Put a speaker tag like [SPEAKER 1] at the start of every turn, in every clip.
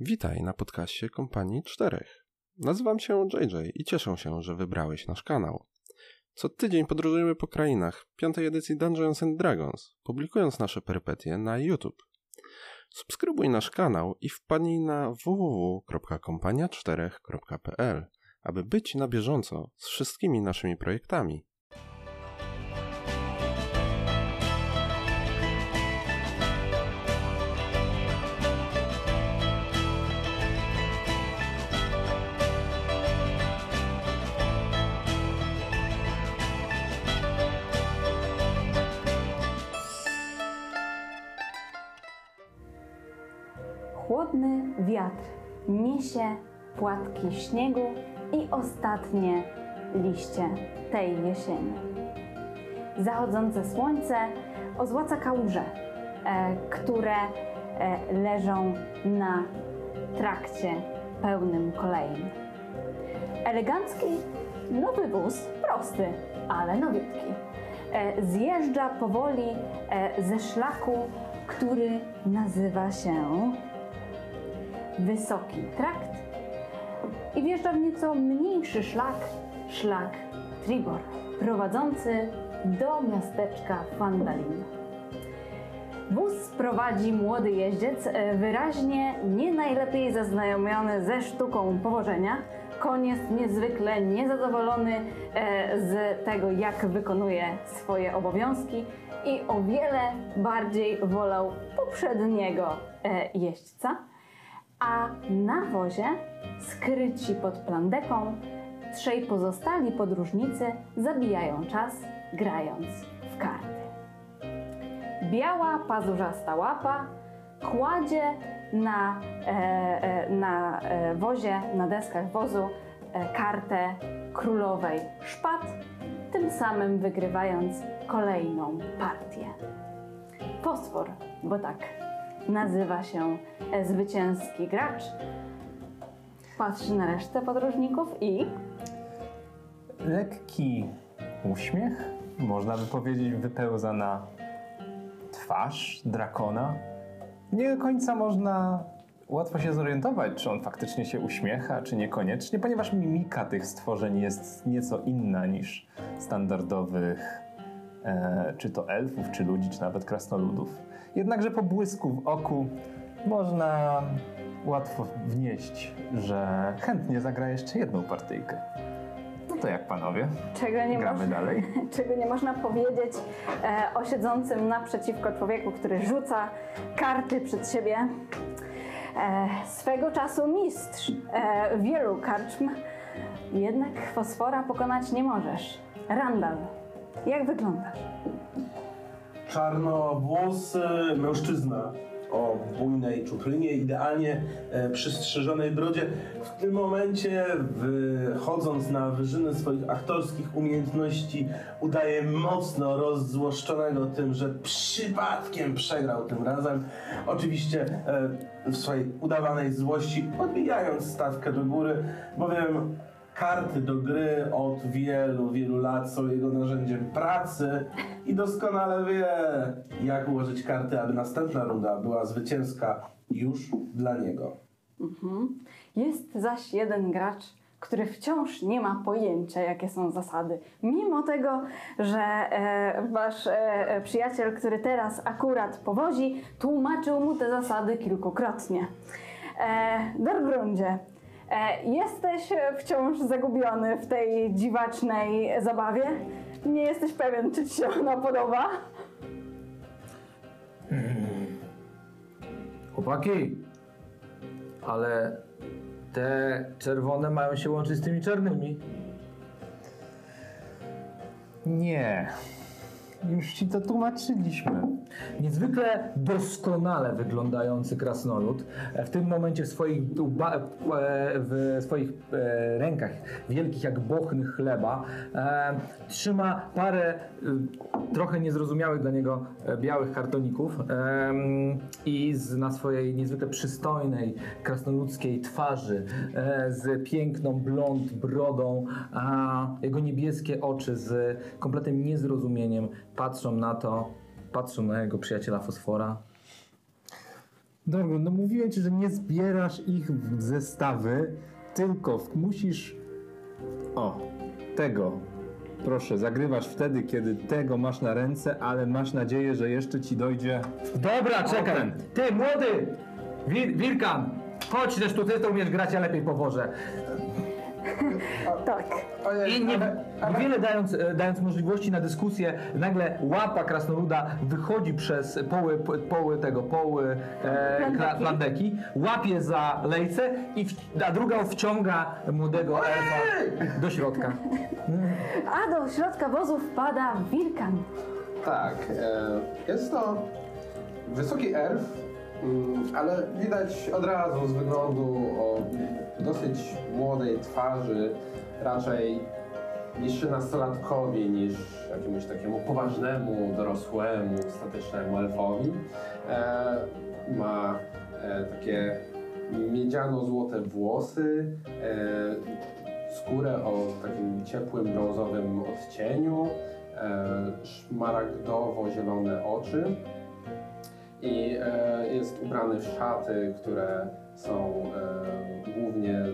[SPEAKER 1] Witaj na podcaście Kompanii Czterech. Nazywam się JJ i cieszę się, że wybrałeś nasz kanał. Co tydzień podróżujemy po krainach piątej edycji Dungeons and Dragons, publikując nasze perypetie na YouTube. Subskrybuj nasz kanał i wpadnij na www.kompania4.pl, aby być na bieżąco z wszystkimi naszymi projektami.
[SPEAKER 2] Chłodny wiatr niesie płatki śniegu i ostatnie liście tej jesieni. Zachodzące słońce ozłaca kałuże, e, które e, leżą na trakcie pełnym kolei. Elegancki nowy wóz, prosty, ale nowiutki, e, zjeżdża powoli e, ze szlaku, który nazywa się wysoki trakt i wjeżdża w nieco mniejszy szlak, szlak Tribor, prowadzący do miasteczka Fandalin. Wóz prowadzi młody jeździec, e, wyraźnie nie najlepiej zaznajomiony ze sztuką powożenia. Koń jest niezwykle niezadowolony e, z tego, jak wykonuje swoje obowiązki i o wiele bardziej wolał poprzedniego e, jeźdźca a na wozie, skryci pod plandeką, trzej pozostali podróżnicy zabijają czas, grając w karty. Biała pazurzasta łapa kładzie na, e, e, na e, wozie, na deskach wozu e, kartę królowej szpat, tym samym wygrywając kolejną partię. Fosfor, bo tak nazywa się e, zwycięski gracz. Patrzy na resztę podróżników i
[SPEAKER 3] lekki uśmiech, można by powiedzieć, wypełza na twarz drakona. Nie do końca można łatwo się zorientować, czy on faktycznie się uśmiecha, czy niekoniecznie, ponieważ mimika tych stworzeń jest nieco inna niż standardowych e, czy to elfów, czy ludzi, czy nawet krasnoludów. Jednakże po błysku w oku można łatwo wnieść, że chętnie zagra jeszcze jedną partyjkę. No to jak panowie?
[SPEAKER 2] czego nie,
[SPEAKER 3] Gramy
[SPEAKER 2] można,
[SPEAKER 3] dalej.
[SPEAKER 2] czego nie można powiedzieć e, o siedzącym naprzeciwko człowieku, który rzuca karty przed siebie. E, swego czasu mistrz e, wielu karczm, jednak fosfora pokonać nie możesz. Randall, jak wyglądasz?
[SPEAKER 4] czarnowłosy mężczyzna o bujnej czuprynie, idealnie e, przystrzyżonej brodzie. W tym momencie, wychodząc na wyżyny swoich aktorskich umiejętności, udaje mocno rozzłoszczonego tym, że przypadkiem przegrał tym razem. Oczywiście e, w swojej udawanej złości, podbijając stawkę do góry, bowiem Karty do gry od wielu, wielu lat są jego narzędziem pracy i doskonale wie, jak ułożyć karty, aby następna runda była zwycięska już dla niego.
[SPEAKER 2] Jest zaś jeden gracz, który wciąż nie ma pojęcia, jakie są zasady. Mimo tego, że e, wasz e, e, przyjaciel, który teraz akurat powozi, tłumaczył mu te zasady kilkukrotnie. E, Dergrundzie, e, jesteś e, wciąż zagubiony w tej dziwacznej zabawie? Nie jesteś pewien, czy ci się ona podoba?
[SPEAKER 5] Chłopaki, ale te czerwone mają się łączyć z tymi czarnymi.
[SPEAKER 3] Nie. Już ci to tłumaczyliśmy.
[SPEAKER 5] Niezwykle doskonale wyglądający krasnolud e, w tym momencie w swoich, duba, e, w swoich e, rękach, wielkich jak bochny chleba, e, trzyma parę e, trochę niezrozumiałych dla niego e, białych kartoników em, i z, na swojej niezwykle przystojnej, krasnoludzkiej twarzy e, z piękną blond brodą, a jego niebieskie oczy z kompletnym niezrozumieniem patrzą na to, patrzą na jego przyjaciela Fosfora.
[SPEAKER 6] Dobra, no mówiłem ci, że nie zbierasz ich w zestawy, tylko w- musisz. O, tego. Proszę, zagrywasz wtedy, kiedy tego masz na ręce, ale masz nadzieję, że jeszcze ci dojdzie.
[SPEAKER 5] Dobra, czekaj.
[SPEAKER 6] Potem.
[SPEAKER 5] Ty, młody! Wir, Wirkan! Chodź, też tu ty to umiesz grać, ja lepiej powożę.
[SPEAKER 2] Tak.
[SPEAKER 5] I nie, wiele dając, e, dając możliwości na dyskusję, nagle łapa krasnoluda wychodzi przez poły, p- poły tego, poły e, kla,
[SPEAKER 2] Plandeki.
[SPEAKER 5] plandeki, łapie za lejce i w, a druga wciąga młodego elfa do środka.
[SPEAKER 2] A do środka wozu wpada wilkan.
[SPEAKER 7] Tak, e, jest to wysoki elf, mm, ale widać od razu z wyglądu o dosyć młodej twarzy, raczej trzynastolatkowi niż jakiemuś takiemu poważnemu, dorosłemu, statycznemu elfowi. E, ma e, takie miedziano-złote włosy, e, skórę o takim ciepłym, brązowym odcieniu, e, szmaragdowo-zielone oczy i e, jest ubrany w szaty, które są e, głównie e,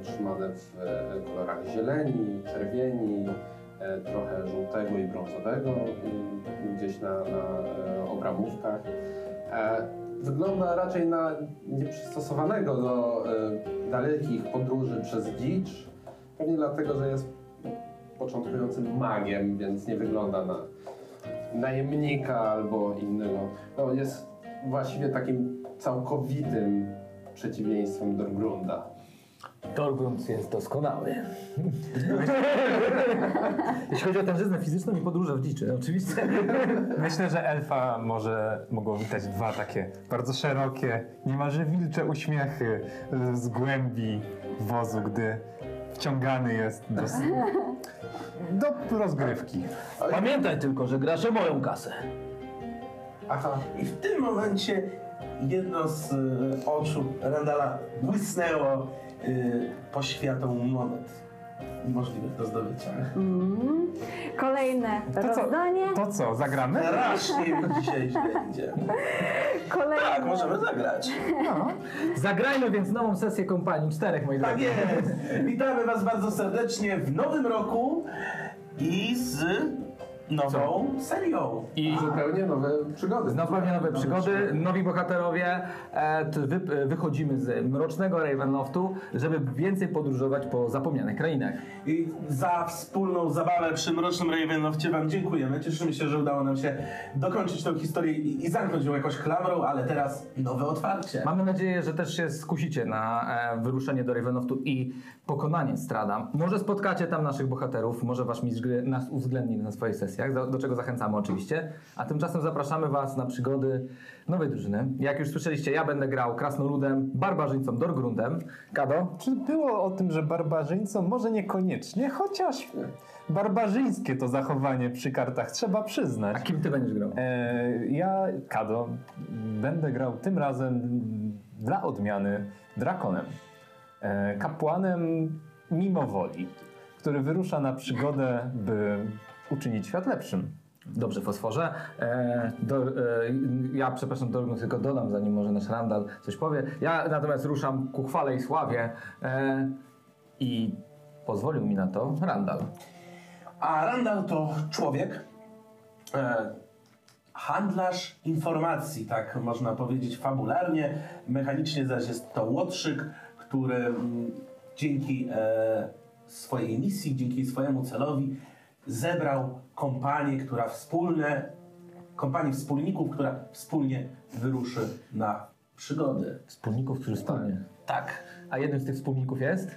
[SPEAKER 7] utrzymane w e, kolorach zieleni, czerwieni, e, trochę żółtego i brązowego mm, gdzieś na, na e, obramówkach. E, wygląda raczej na nieprzystosowanego do e, dalekich podróży przez dzicz, pewnie dlatego, że jest początkującym magiem, więc nie wygląda na najemnika albo innego. No, jest właściwie takim całkowitym przeciwieństwem Dorgrunda.
[SPEAKER 5] Torgrunt jest doskonały. Jeśli chodzi o tężyznę fizyczną i podróże w dziczy, oczywiście.
[SPEAKER 3] Myślę, że elfa może mogą witać dwa takie bardzo szerokie, niemalże wilcze uśmiechy e, z głębi wozu, gdy wciągany jest do, s- do rozgrywki.
[SPEAKER 5] Pamiętaj tylko, że grasz o moją kasę.
[SPEAKER 7] Aha,
[SPEAKER 4] I w tym momencie jedno z y, oczu Randala błysnęło y, poświatą monet możliwych do zdobycia.
[SPEAKER 2] Mm. Kolejne
[SPEAKER 3] To co?
[SPEAKER 2] rozdanie.
[SPEAKER 3] To co, zagramy?
[SPEAKER 4] Strasznie mi dzisiaj źle idzie. Tak,
[SPEAKER 2] Kolejne.
[SPEAKER 4] możemy zagrać.
[SPEAKER 5] Zagrajmy więc nową sesję kompanii czterech, moi
[SPEAKER 4] Tak
[SPEAKER 5] drodzy.
[SPEAKER 4] jest. Witamy Was bardzo serdecznie w nowym roku i z nową serią.
[SPEAKER 5] I
[SPEAKER 7] zupełnie nowe przygody.
[SPEAKER 5] znowu pewnie nowe przygody, nowi bohaterowie. E, to wy, e, wychodzimy z mrocznego Ravenloftu, żeby więcej podróżować po zapomnianych krainach.
[SPEAKER 4] I za wspólną zabawę przy Mrocznym Ravenloftie Wam dziękujemy. Cieszymy się, że udało nam się dokończyć tą historię i, i zamknąć ją jakąś klamrą, ale teraz nowe otwarcie.
[SPEAKER 5] Mamy nadzieję, że też się skusicie na e, wyruszenie do Ravenloftu i pokonanie Strada. Może spotkacie tam naszych bohaterów, może wasz mistrz gry nas uwzględni na swoich sesjach, do, do czego zachęcamy oczywiście. A tymczasem zapraszamy was na przygody nowej drużyny. Jak już słyszeliście, ja będę grał Krasnoludem, Barbarzyńcą, Dorgrundem. Kado?
[SPEAKER 3] Czy było o tym, że barbarzyńcą może niekoniecznie, chociaż barbarzyńskie to zachowanie przy kartach trzeba
[SPEAKER 5] A
[SPEAKER 3] przyznać.
[SPEAKER 5] kim ty będziesz grał?
[SPEAKER 3] E, ja, Kado, będę grał tym razem dla odmiany drakonem. E, kapłanem mimo woli, który wyrusza na przygodę, by uczynić świat lepszym.
[SPEAKER 5] Dobrze, fosforze. E, do, e, ja, przepraszam, Dorgun tylko dodam, zanim może nasz Randall coś powie. Ja natomiast ruszam ku chwale i sławie e, i pozwolił mi na to Randall.
[SPEAKER 4] A Randall to człowiek, e, handlarz informacji, tak można powiedzieć fabularnie, mechanicznie zaś jest to łotrzyk, który mm, dzięki e, swojej misji, dzięki swojemu celowi zebrał kompanię, która wspólne, kompanię wspólników, która wspólnie wyruszy na przygody.
[SPEAKER 5] Wspólników, którzy wspólnie.
[SPEAKER 4] Tak,
[SPEAKER 5] A jednym z tych wspólników jest?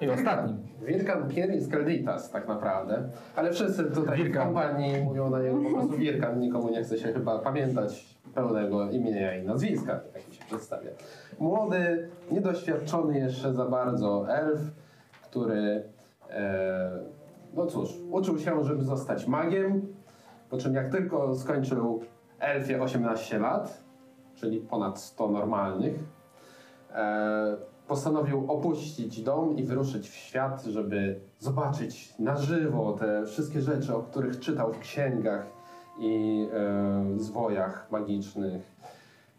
[SPEAKER 5] I ostatnim.
[SPEAKER 7] Wirkan Pier jest Kalditas tak naprawdę, ale wszyscy tutaj
[SPEAKER 5] Wirkan.
[SPEAKER 7] w kompanii mówią na niego po prostu Wirkan, nikomu nie chce się chyba pamiętać pełnego imienia i nazwiska, Tak jak mi się przedstawia. Młody, niedoświadczony jeszcze za bardzo elf, który, e, no cóż, uczył się, żeby zostać magiem, po czym jak tylko skończył elfie 18 lat, czyli ponad 100 normalnych, e, postanowił opuścić dom i wyruszyć w świat, żeby zobaczyć na żywo te wszystkie rzeczy, o których czytał w księgach i e, zwojach magicznych.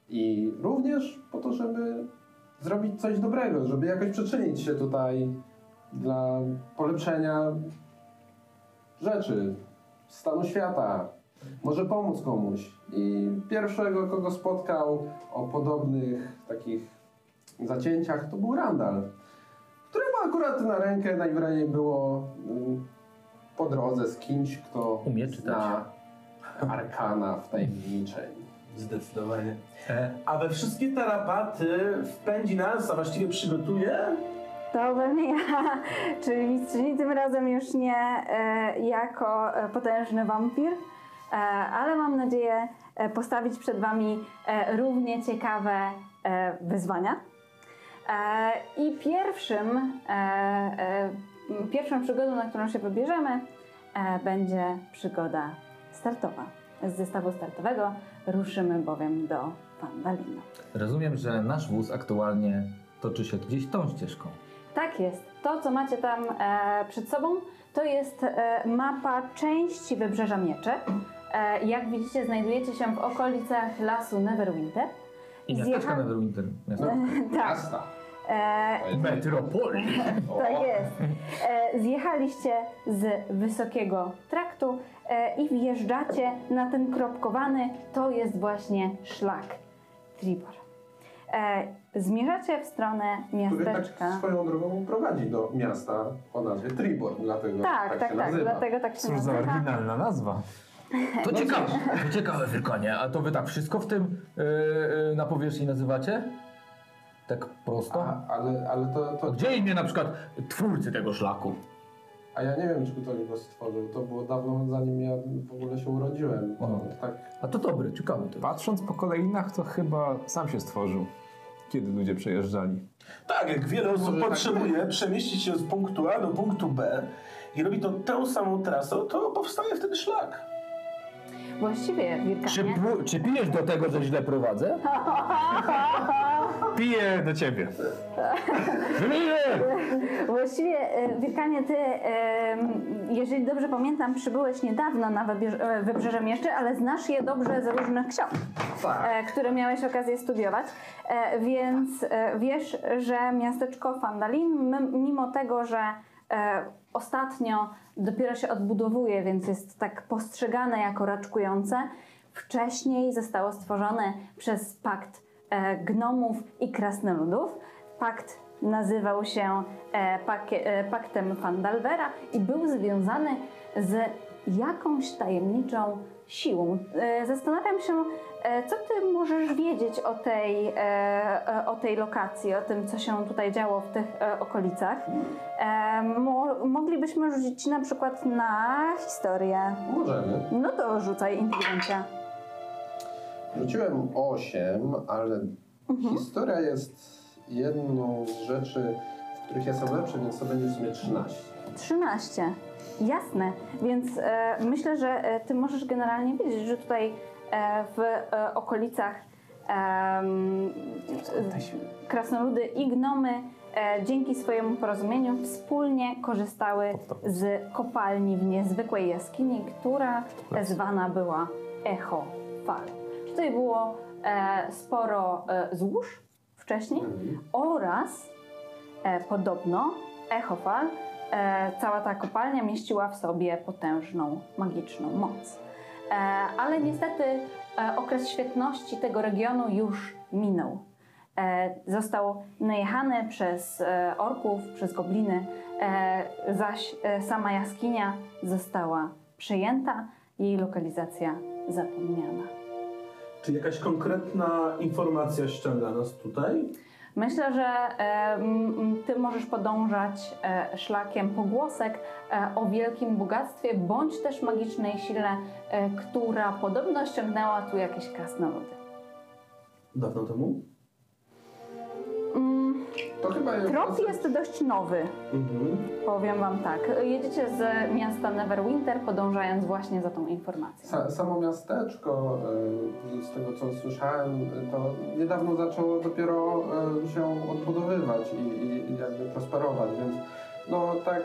[SPEAKER 7] I również po to, żeby zrobić coś dobrego, żeby jakoś przyczynić się tutaj dla polepszenia rzeczy, stanu świata. Może pomóc komuś. I pierwszego, kogo spotkał o podobnych takich zacięciach, to był Randall, któremu akurat na rękę najwyraźniej było mm, po drodze z kimś, kto
[SPEAKER 5] Umie czytać.
[SPEAKER 7] zna arkana w tajemniczej.
[SPEAKER 4] Zdecydowanie.
[SPEAKER 5] E,
[SPEAKER 4] A we wszystkie te rabaty wpędzi nas, a właściwie przygotuje
[SPEAKER 2] To będę ja, czyli mistrzyni tym razem już nie e, jako e, potężny wampir, e, ale mam nadzieję e, postawić przed Wami e, równie ciekawe e, wyzwania. E, I pierwszym, e, e, m, pierwszą przygodą, na którą się wybierzemy, e, będzie przygoda startowa. Z zestawu startowego ruszymy bowiem do Pandalina.
[SPEAKER 5] Rozumiem, że nasz wóz aktualnie toczy się gdzieś tą ścieżką.
[SPEAKER 2] Tak jest. To, co macie tam e, przed sobą, to jest e, mapa części Wybrzeża Miecze. E, jak widzicie, znajdujecie się w okolicach lasu Neverwinter.
[SPEAKER 5] I miasteczka
[SPEAKER 2] Zjechałem-
[SPEAKER 5] Neverwinter. miasto-
[SPEAKER 2] Tak,
[SPEAKER 7] Miasta.
[SPEAKER 2] e,
[SPEAKER 5] Metropoli!
[SPEAKER 7] O,
[SPEAKER 2] tak jest. E, zjechaliście z wysokiego traktu e, i wjeżdżacie na ten kropkowany, to jest właśnie szlak Tribor. E, zmierzacie w stronę
[SPEAKER 7] Który
[SPEAKER 2] miasteczka.
[SPEAKER 7] tak swoją drogą prowadzi do miasta o nazwie Tribor, dlatego
[SPEAKER 2] tak, tak,
[SPEAKER 7] się
[SPEAKER 2] tak,
[SPEAKER 7] nazywa.
[SPEAKER 2] dlatego tak się
[SPEAKER 3] Cóż za
[SPEAKER 2] nazywa.
[SPEAKER 3] oryginalna nazwa.
[SPEAKER 5] To ciekawe, to ciekawe Wyrkonie. A to wy tak wszystko w tym e, e, na powierzchni nazywacie? Tak prosto?
[SPEAKER 7] A, ale, ale to,
[SPEAKER 5] To
[SPEAKER 7] to...
[SPEAKER 5] Gdzie imię na przykład twórcy tego szlaku?
[SPEAKER 7] A ja nie wiem, czy to go stworzył. To było dawno, zanim ja w ogóle się urodziłem. To,
[SPEAKER 5] O.
[SPEAKER 7] tak,
[SPEAKER 5] A to dobry, ciekawy to.
[SPEAKER 3] Patrząc po kolejnach, to chyba sam się stworzył, kiedy ludzie przejeżdżali.
[SPEAKER 4] Tak, jak wiele osób
[SPEAKER 7] Może tak
[SPEAKER 4] potrzebuje przemieścić się z punktu A do punktu B i robi to tą samą trasą, to powstaje wtedy szlak.
[SPEAKER 2] Właściwie,
[SPEAKER 5] Czy,
[SPEAKER 2] Wilkanie,
[SPEAKER 5] pu- czy pijesz do tego, że źle prowadzę?
[SPEAKER 3] Piję do ciebie.
[SPEAKER 5] Piję!
[SPEAKER 2] Właściwie, e, Wilkanie, ty, e, jeżeli dobrze pamiętam, przybyłeś niedawno na wybierz- e, Wybrzeże Mieszczy, ale znasz je dobrze z różnych ksiąg, e, które miałeś okazję studiować, e, więc e, wiesz, że miasteczko Fandalin, m- mimo tego, że e, ostatnio dopiero się odbudowuje, więc jest tak postrzegane jako raczkujące, wcześniej zostało stworzone przez pakt e, gnomów i krasnoludów, Pakt nazywał się e, pakie, e, Paktem Fandalwera i był związany z jakąś tajemniczą siłą. E, zastanawiam się, e, co ty możesz wiedzieć o tej, e, e, o tej lokacji, o tym, co się tutaj działo w tych e, okolicach. E, mo, moglibyśmy rzucić na przykład na historię.
[SPEAKER 7] możemy.
[SPEAKER 2] No to rzucaj inteligencja.
[SPEAKER 7] Rzuciłem 8, ale
[SPEAKER 2] Mhm.
[SPEAKER 7] historia jest jedną z rzeczy, w których ja jestem lepszy, więc to będzie w sumie 13.
[SPEAKER 2] 13. Jasne, więc e, myślę, że e, ty możesz generalnie wiedzieć, że tutaj e, w e, okolicach em, e, krasnoludy i gnomy e, dzięki swojemu porozumieniu wspólnie korzystały z kopalni w niezwykłej jaskini, która zwana była Echo Fal. Tutaj było e, sporo e, złóż wcześniej, oraz e, podobno Echofal, e, cała ta kopalnia mieściła w sobie potężną magiczną moc. E, ale niestety e, okres świetności tego regionu już minął. E, został najechany przez e, orków, przez gobliny, e, zaś e, sama jaskinia została przejęta, jej lokalizacja zapomniana.
[SPEAKER 4] Czy jakaś konkretna informacja ściąga nas tutaj?
[SPEAKER 2] Myślę, że e, m, m, ty możesz podążać e, szlakiem pogłosek e, o wielkim bogactwie bądź też magicznej sile, e, która podobno ściągnęła tu jakieś krasnoludy.
[SPEAKER 4] Dawno temu?
[SPEAKER 2] Mm,
[SPEAKER 7] To chyba jest.
[SPEAKER 2] trop jest dość nowy,
[SPEAKER 4] Mhm.
[SPEAKER 2] powiem wam tak. Jedziecie z miasta Neverwinter, podążając właśnie za tą informacją.
[SPEAKER 7] Sa, samo miasteczko, y, z tego co słyszałem, y, to niedawno zaczęło dopiero y, się odbudowywać i, i, i jakby prosperować, więc no tak.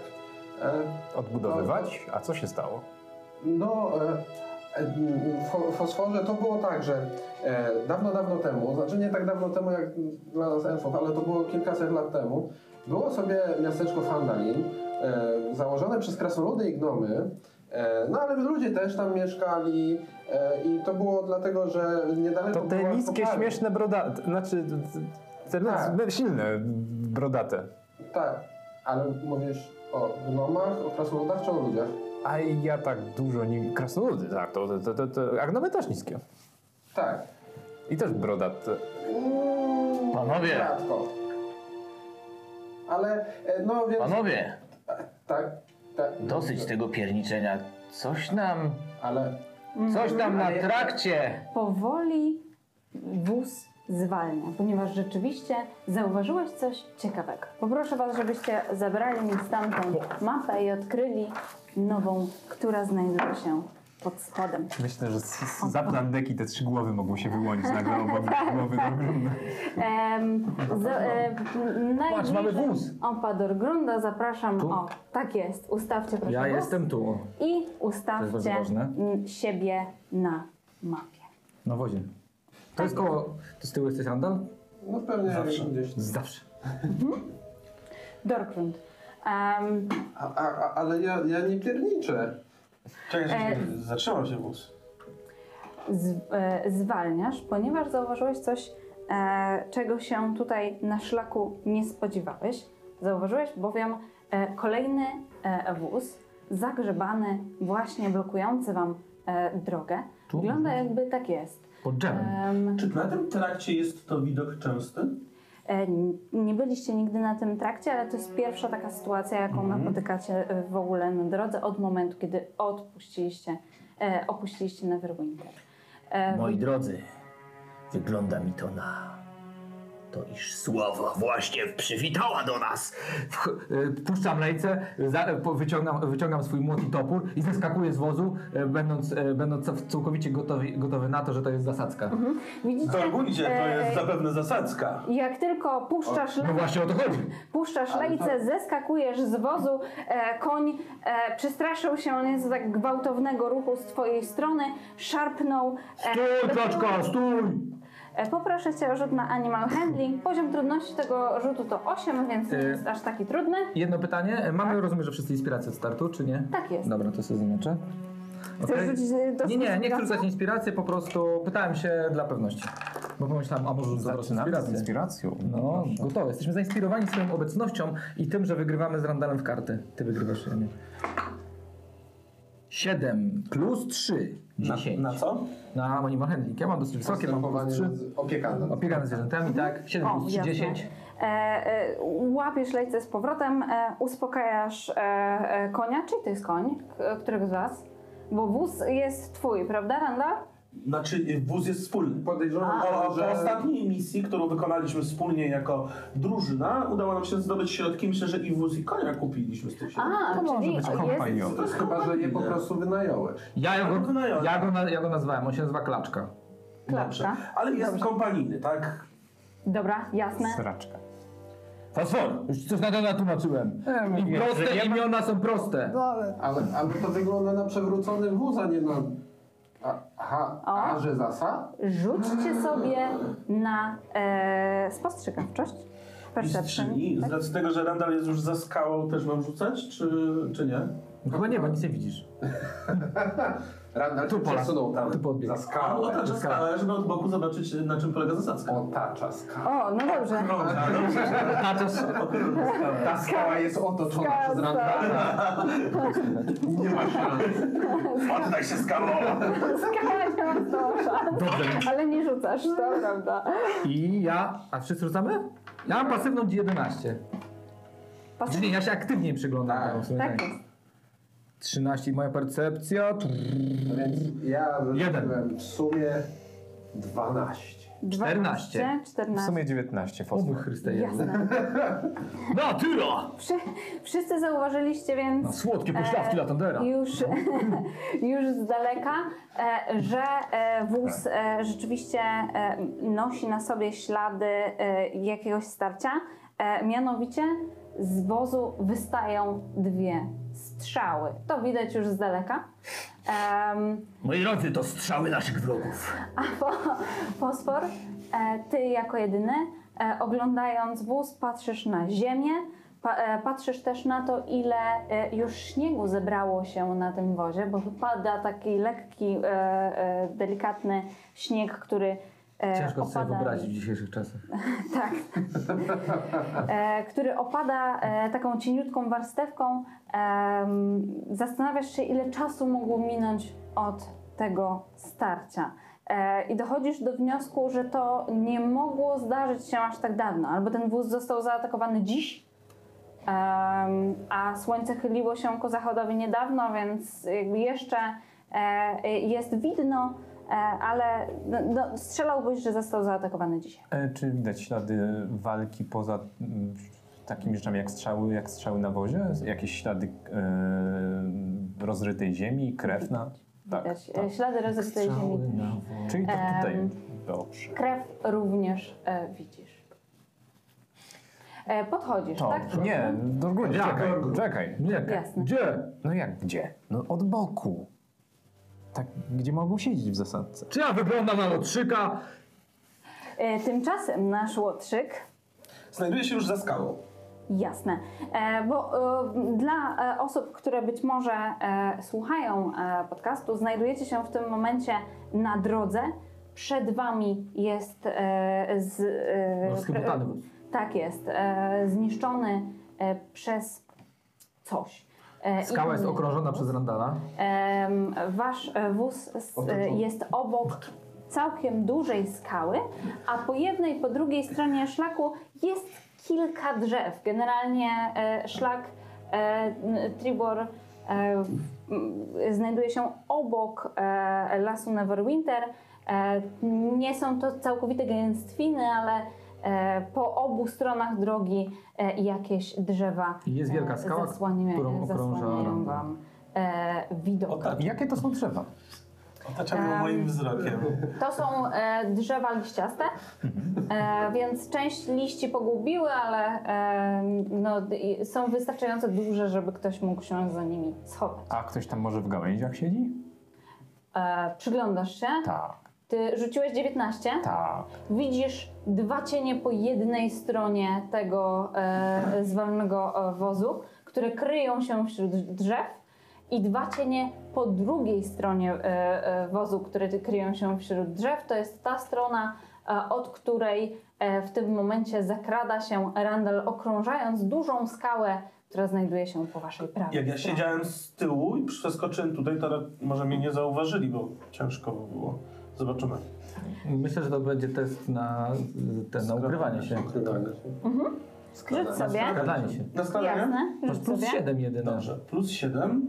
[SPEAKER 7] y,
[SPEAKER 3] Odbudowywać? A co się stało?
[SPEAKER 7] No, e, w fosforze to było tak, że e, dawno, dawno temu, znaczy nie tak dawno temu jak dla nas elfów, ale to było kilkaset lat temu, było sobie miasteczko Fandalin, e, założone przez krasnoludy i gnomy, e, no ale ludzie też tam mieszkali e, i to było dlatego, że niedaleko
[SPEAKER 3] To te
[SPEAKER 7] była
[SPEAKER 3] niskie,
[SPEAKER 7] kopalnia.
[SPEAKER 3] śmieszne brodate, znaczy te
[SPEAKER 7] Tak.
[SPEAKER 3] silne brodate.
[SPEAKER 7] Tak, ale mówisz o gnomach, o krasnoludach czy o ludziach?
[SPEAKER 3] A ja tak dużo nie... Krasnoludy, tak, to, to, to, to... A gnomy też niskie.
[SPEAKER 7] Tak.
[SPEAKER 3] I też brodate.
[SPEAKER 7] Mm,
[SPEAKER 8] Panowie.
[SPEAKER 7] Rzadko. Ale, e, no więc...
[SPEAKER 8] Panowie,
[SPEAKER 7] Tak, tak.
[SPEAKER 8] dosyć tego pierniczenia. Coś nam,
[SPEAKER 7] Ale
[SPEAKER 8] coś nam na trakcie.
[SPEAKER 2] Powoli wóz zwalnia, ponieważ rzeczywiście zauważyłeś coś ciekawego. Poproszę Was, żebyście zabrali mi stamtąd mapę i odkryli nową, która znajduje się pod spodem.
[SPEAKER 6] Myślę, że z, z, za plandeki te trzy głowy mogą się wyłonić nagle obok głowy do gruntu.
[SPEAKER 2] Em, z, e,
[SPEAKER 5] Patrz, mamy wóz.
[SPEAKER 2] Ompador Grunda, zapraszam. O, tak jest. Ustawcie proszę
[SPEAKER 5] Ja
[SPEAKER 2] wóz
[SPEAKER 5] jestem tu.
[SPEAKER 2] i
[SPEAKER 5] To jest
[SPEAKER 2] ustawcie
[SPEAKER 5] bardzo ważne.
[SPEAKER 2] m, siebie na mapie.
[SPEAKER 5] Na wozie. To jest koło... To z tyłu jesteś Andal?
[SPEAKER 7] no pewnie gdzieś.
[SPEAKER 5] Zawsze.
[SPEAKER 2] Dorgrund. Em,
[SPEAKER 7] A, a, a, ale ja, ja nie pierniczę.
[SPEAKER 4] Czekaj,
[SPEAKER 2] E.
[SPEAKER 4] czekaj, zatrzymał się wóz.
[SPEAKER 2] z, e, zwalniasz, ponieważ zauważyłeś coś, e, czego się tutaj na szlaku nie spodziewałeś. Zauważyłeś bowiem e, kolejny e, wóz zagrzebany, właśnie blokujący wam e, drogę.
[SPEAKER 5] Tu?
[SPEAKER 2] Wygląda jakby tak jest.
[SPEAKER 5] Pod drzewem.
[SPEAKER 2] Em,
[SPEAKER 4] Czy na tym trakcie jest to widok częsty?
[SPEAKER 2] e, n- nie byliście nigdy na tym trakcie, ale to jest pierwsza taka sytuacja, jaką
[SPEAKER 5] Mhm.
[SPEAKER 2] napotykacie e, w ogóle na drodze od momentu, kiedy odpuściliście, e, opuściliście Neverwinter. E,
[SPEAKER 8] Moi drodzy, wygląda mi to na to, iż sława właśnie przywitała do nas.
[SPEAKER 5] Wch- y, Puszczam lejce, za, y, po- wyciągam, wyciągam swój młot i topór i zeskakuję z wozu, y, będąc, y, będąc cał- całkowicie gotowy, gotowy na to, że to jest zasadzka.
[SPEAKER 2] Mhm, Widzicie,
[SPEAKER 4] Dolguncie, to
[SPEAKER 2] e,
[SPEAKER 7] Eee.
[SPEAKER 4] jest zapewne zasadzka.
[SPEAKER 2] Jak tylko puszczasz,
[SPEAKER 5] No
[SPEAKER 2] le-
[SPEAKER 5] właśnie o to chodzi.
[SPEAKER 2] puszczasz lejce,
[SPEAKER 5] tak.
[SPEAKER 2] zeskakujesz z wozu, e, koń e, przestraszył się nieco tak gwałtownego ruchu z twojej strony, szarpnął.
[SPEAKER 5] Stój,
[SPEAKER 2] Tak,
[SPEAKER 5] kaczka, stój!
[SPEAKER 2] E, poproszę cię o rzut na animal handling. Poziom trudności tego rzutu to 8, więc nie
[SPEAKER 5] E.
[SPEAKER 2] jest aż taki trudny.
[SPEAKER 5] Jedno pytanie. Y, Mamy, rozumiem, że wszyscy inspiracje od startu, czy nie?
[SPEAKER 2] Tak jest.
[SPEAKER 5] Dobra, to sobie zaznaczę.
[SPEAKER 2] Chcesz
[SPEAKER 5] Okej.
[SPEAKER 2] rzucić e, do
[SPEAKER 5] Nie, nie, nie chcę
[SPEAKER 2] do-
[SPEAKER 5] rzucać inspiracji, po prostu pytałem się dla pewności. Bo pomyślałem, a może rzucę
[SPEAKER 3] Znaczy,
[SPEAKER 5] po prostu
[SPEAKER 6] Zaczynamy z
[SPEAKER 5] inspirację.
[SPEAKER 6] inspiracją.
[SPEAKER 5] No, gotowe. Jesteśmy zainspirowani swoją obecnością i tym, że wygrywamy z Randalem w karty. Ty wygrywasz, ja nie. 7 plus 3, 10.
[SPEAKER 4] Na co?
[SPEAKER 5] Na animal handling. Ja mam dosyć wysokie, mam plus
[SPEAKER 7] Postępowanie
[SPEAKER 5] 3.
[SPEAKER 7] z opieką.
[SPEAKER 5] Opieka nad zwierzętami, tak? 7
[SPEAKER 2] O,
[SPEAKER 5] plus 3,
[SPEAKER 2] jasne.
[SPEAKER 5] 10.
[SPEAKER 2] E, e, łapiesz lejce z powrotem, e, uspokajasz e, e, konia. Czyj to jest koń? K- Którego z was? Bo wóz jest twój, prawda, Randall?
[SPEAKER 4] Znaczy y, wóz jest wspólny.
[SPEAKER 7] Podejrzewam,
[SPEAKER 4] O, po
[SPEAKER 7] że...
[SPEAKER 4] ostatniej misji, którą wykonaliśmy wspólnie jako drużyna, udało nam się zdobyć środki. Myślę, że i wóz i konia kupiliśmy z tych środków.
[SPEAKER 2] A, czyli jest...
[SPEAKER 6] kompaniowy.
[SPEAKER 4] To jest
[SPEAKER 7] Chyba, że je po prostu wynająłeś.
[SPEAKER 5] Ja go,
[SPEAKER 4] Wykonałem.
[SPEAKER 5] ja, go na, ja go nazwałem, on się nazywa Klaczka.
[SPEAKER 2] Klaczka.
[SPEAKER 4] Ale jest
[SPEAKER 2] Dobrze.
[SPEAKER 4] kompanijny, tak?
[SPEAKER 2] Dobra, jasne.
[SPEAKER 6] Sraczka.
[SPEAKER 5] Fosfor! Już coś na to natłumaczyłem. I proste imiona są proste.
[SPEAKER 7] Ale, ale to wygląda na przewrócony wóz, a nie na... A, aha, a
[SPEAKER 2] O.
[SPEAKER 7] że zasad?
[SPEAKER 2] Rzućcie sobie na e, spostrzegawczość. Perception.
[SPEAKER 4] Mistrzyni. Z
[SPEAKER 2] Tak?
[SPEAKER 4] racji tego, że Randall jest już za skałą, też mam rzucać, czy, czy nie?
[SPEAKER 5] No Chyba nie, bo nic nie widzisz.
[SPEAKER 7] Randall tu
[SPEAKER 5] Pola.
[SPEAKER 7] przesunął tam
[SPEAKER 5] Tu podbieg.
[SPEAKER 7] za
[SPEAKER 4] A
[SPEAKER 7] skałę.
[SPEAKER 4] otacza No, tak, skałę, żeby od boku zobaczyć, na czym polega zasadzka.
[SPEAKER 7] Otacza skałę.
[SPEAKER 2] O, no dobrze.
[SPEAKER 5] A to s-
[SPEAKER 7] Ta skała jest otoczona
[SPEAKER 2] Skała.
[SPEAKER 7] przez Randalla. Nie ma szans.
[SPEAKER 4] Oddaj się skałą!
[SPEAKER 2] Skala nie ma znowu szans. Ale nie rzucasz, to prawda.
[SPEAKER 5] I ja... A wszyscy rzucamy? Ja mam pasywną 11.
[SPEAKER 2] Pas-
[SPEAKER 5] Czyli ja się aktywnie przyglądam.
[SPEAKER 7] Tak.
[SPEAKER 5] No, w sumie
[SPEAKER 2] Tak jest.
[SPEAKER 5] 13 i moja percepcja. trrr,
[SPEAKER 7] Więc ja
[SPEAKER 5] Jeden.
[SPEAKER 7] zrobiłem w sumie 12.
[SPEAKER 5] 14.
[SPEAKER 2] 14.
[SPEAKER 6] W sumie 19
[SPEAKER 5] O mój
[SPEAKER 6] fosfor.
[SPEAKER 5] Chryste, Jezu.
[SPEAKER 2] Jasne.
[SPEAKER 5] No, tyra!
[SPEAKER 2] Wszy, wszyscy zauważyliście więc
[SPEAKER 5] No, słodkie
[SPEAKER 2] E,
[SPEAKER 5] pośladki Latandera.
[SPEAKER 2] już, już z daleka, e, że e, wóz e, rzeczywiście e, nosi na sobie ślady e, jakiegoś starcia. E, mianowicie z wozu wystają dwie strzały. To widać już z daleka. Em,
[SPEAKER 8] Moi drodzy, to strzały naszych wrogów.
[SPEAKER 2] a po, fosfor, e, ty jako jedyny, e, oglądając wóz, patrzysz na ziemię, pa, e, patrzysz też na to, ile e, już śniegu zebrało się na tym wozie, bo wypada taki lekki, e, e, delikatny śnieg, który e,
[SPEAKER 5] Ciężko sobie
[SPEAKER 2] opada-
[SPEAKER 5] wyobrazić w dzisiejszych czasach.
[SPEAKER 2] tak. e, który opada e, taką cieniutką warstewką. Em, zastanawiasz się, ile czasu mogło minąć od tego starcia. E, I dochodzisz do wniosku, że to nie mogło zdarzyć się aż tak dawno. Albo ten wóz został zaatakowany dziś, em, a słońce chyliło się ku zachodowi niedawno, więc jakby jeszcze e, jest widno, e, ale no, no, strzelałbyś, że został zaatakowany dzisiaj.
[SPEAKER 3] E, Czy widać ślady walki poza mm, takimi rzeczami jak strzały, jak strzały na wozie? Jakieś ślady e, rozrytej ziemi, krew na... Tak,
[SPEAKER 2] Widać,
[SPEAKER 3] tak.
[SPEAKER 2] e, Ślady rozestrej ziemi.
[SPEAKER 3] Czyli to tutaj.
[SPEAKER 2] Em.
[SPEAKER 3] Dobrze.
[SPEAKER 2] Krew również e, widzisz. E, podchodzisz,
[SPEAKER 3] To,
[SPEAKER 2] tak?
[SPEAKER 3] nie, do góry,
[SPEAKER 5] Ja,
[SPEAKER 3] czekaj,
[SPEAKER 5] do góry.
[SPEAKER 3] czekaj.
[SPEAKER 5] Nie,
[SPEAKER 2] Jasne.
[SPEAKER 5] gdzie?
[SPEAKER 3] No jak gdzie? No od boku. Tak, gdzie mogą siedzieć w zasadce.
[SPEAKER 5] Czy ja wyglądam na łotrzyka?
[SPEAKER 2] E, tymczasem nasz łotrzyk,
[SPEAKER 4] Znajduje się już za skałą.
[SPEAKER 2] jasne, e, bo e, dla e, osób, które być może e, słuchają e, podcastu, znajdujecie się w tym momencie na drodze. Przed wami jest e, z, e,
[SPEAKER 5] No, schybotany wóz.
[SPEAKER 2] Tak jest, e, zniszczony e, przez coś. E,
[SPEAKER 5] Skała jest
[SPEAKER 2] inny
[SPEAKER 5] okrążona
[SPEAKER 2] wóz.
[SPEAKER 5] przez randala.
[SPEAKER 2] Em, Wasz e, wóz s- e, jest obok całkiem dużej skały, a po jednej i po drugiej stronie szlaku jest kilka drzew. Generalnie e, szlak e, n- Tribor e, w- m, znajduje się obok e, lasu Neverwinter. E, Nie są to całkowite gęstwiny, ale e, po obu stronach drogi e, jakieś drzewa
[SPEAKER 5] I jest wielka
[SPEAKER 2] e,
[SPEAKER 5] skała,
[SPEAKER 2] zasłania-
[SPEAKER 5] którą okrąża
[SPEAKER 2] zasłaniają
[SPEAKER 5] rąbka.
[SPEAKER 2] wam e, widok.
[SPEAKER 5] tak.
[SPEAKER 3] Jakie to są drzewa?
[SPEAKER 4] Otaczamy ją moim wzrokiem.
[SPEAKER 2] To są e, drzewa liściaste, e, więc część liści pogubiły, ale e, no, d- i- są wystarczająco duże, żeby ktoś mógł się za nimi schować.
[SPEAKER 3] A ktoś tam może w gałęziach siedzi?
[SPEAKER 2] E, przyglądasz się,
[SPEAKER 3] Tak,
[SPEAKER 2] ty rzuciłeś 19,
[SPEAKER 3] tak.
[SPEAKER 2] widzisz dwa cienie po jednej stronie tego e, zwalnego e, wozu, które kryją się wśród drzew i dwa cienie po drugiej stronie e, e, wozu, które ty- kryją się wśród drzew. To jest ta strona, e, od której e, w tym momencie zakrada się Randall, okrążając dużą skałę, która znajduje się po waszej prawej
[SPEAKER 4] Jak ja
[SPEAKER 2] stronie.
[SPEAKER 4] siedziałem z tyłu i przeskoczyłem tutaj, to ra- może mnie nie zauważyli, bo ciężko by było. Zobaczymy.
[SPEAKER 5] Myślę, że to będzie test na, ten, na ukrywanie się.
[SPEAKER 7] Ukrywanie się.
[SPEAKER 2] Rzuć sobie.
[SPEAKER 5] Skradanie się.
[SPEAKER 4] Na składanie?
[SPEAKER 2] Jasne,
[SPEAKER 5] Masz
[SPEAKER 2] rzuć
[SPEAKER 5] plus
[SPEAKER 2] sobie.
[SPEAKER 5] 7 jedyne.
[SPEAKER 4] Dobrze, plus 7.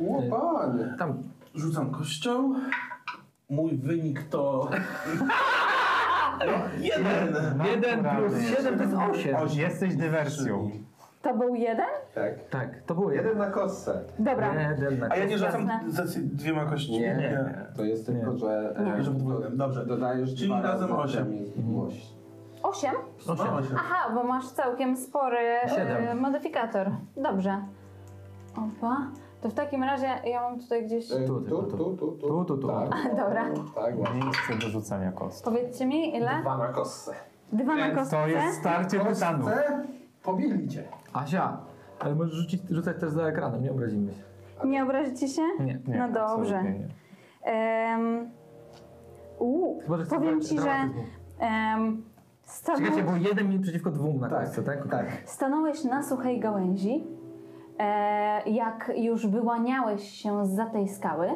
[SPEAKER 7] O, panie.
[SPEAKER 5] Tam
[SPEAKER 4] Rzucam kością. Mój wynik to... No, Jeden!
[SPEAKER 5] jeden plus
[SPEAKER 3] Naturalnie.
[SPEAKER 5] 7 to jest 8.
[SPEAKER 3] Jesteś dywersją.
[SPEAKER 2] To był jeden?
[SPEAKER 7] Tak.
[SPEAKER 5] Tak, to było jeden.
[SPEAKER 7] Jeden na kostce.
[SPEAKER 2] Dobra.
[SPEAKER 5] Jeden na
[SPEAKER 4] A ja nie rzucam
[SPEAKER 2] Jasne.
[SPEAKER 4] za cy- dwiema kościami?
[SPEAKER 7] Nie, To jest tylko, że... e,
[SPEAKER 2] Nie,
[SPEAKER 4] że podwójnym, dobrze.
[SPEAKER 7] Dodajesz
[SPEAKER 4] Czyli
[SPEAKER 7] dwa
[SPEAKER 4] razem
[SPEAKER 7] razy
[SPEAKER 4] osiem.
[SPEAKER 7] temu zgłoś.
[SPEAKER 2] Osiem?
[SPEAKER 3] No
[SPEAKER 5] Osiem.
[SPEAKER 4] Mało się.
[SPEAKER 2] Aha, bo masz całkiem spory e,
[SPEAKER 5] Siedem.
[SPEAKER 2] modyfikator. Dobrze. Opa. To w takim razie ja mam tutaj gdzieś.
[SPEAKER 7] E,
[SPEAKER 5] Tu, tu,
[SPEAKER 7] tu, tu, tu, tu.
[SPEAKER 5] Tu, tu, tu.
[SPEAKER 7] Tak,
[SPEAKER 2] A, dobra.
[SPEAKER 7] tak właśnie.
[SPEAKER 3] Miejsce do rzucania kost.
[SPEAKER 2] Powiedzcie mi, ile?
[SPEAKER 7] Dwa na kostce.
[SPEAKER 2] Dwa na kostce.
[SPEAKER 3] To jest starcie tytanów.
[SPEAKER 7] Kostce? Pobili cię.
[SPEAKER 5] Asia, ale możesz rzucić, rzucać też za ekranem, nie obrazimy się.
[SPEAKER 2] Nie obrazicie się?
[SPEAKER 5] Nie.
[SPEAKER 3] Nie,
[SPEAKER 2] No dobrze.
[SPEAKER 3] absolutnie nie.
[SPEAKER 2] Em, Uuu,
[SPEAKER 5] Chyba, że chcesz
[SPEAKER 2] powiem
[SPEAKER 5] zagrać
[SPEAKER 2] ci, że
[SPEAKER 5] dramatyzmu.
[SPEAKER 2] em, stanu...
[SPEAKER 5] Czekajcie, bo jeden mi przeciwko dwóm na kostce, tak? Okej.
[SPEAKER 2] stanąłeś na suchej gałęzi. E, jak już wyłaniałeś się za tej skały,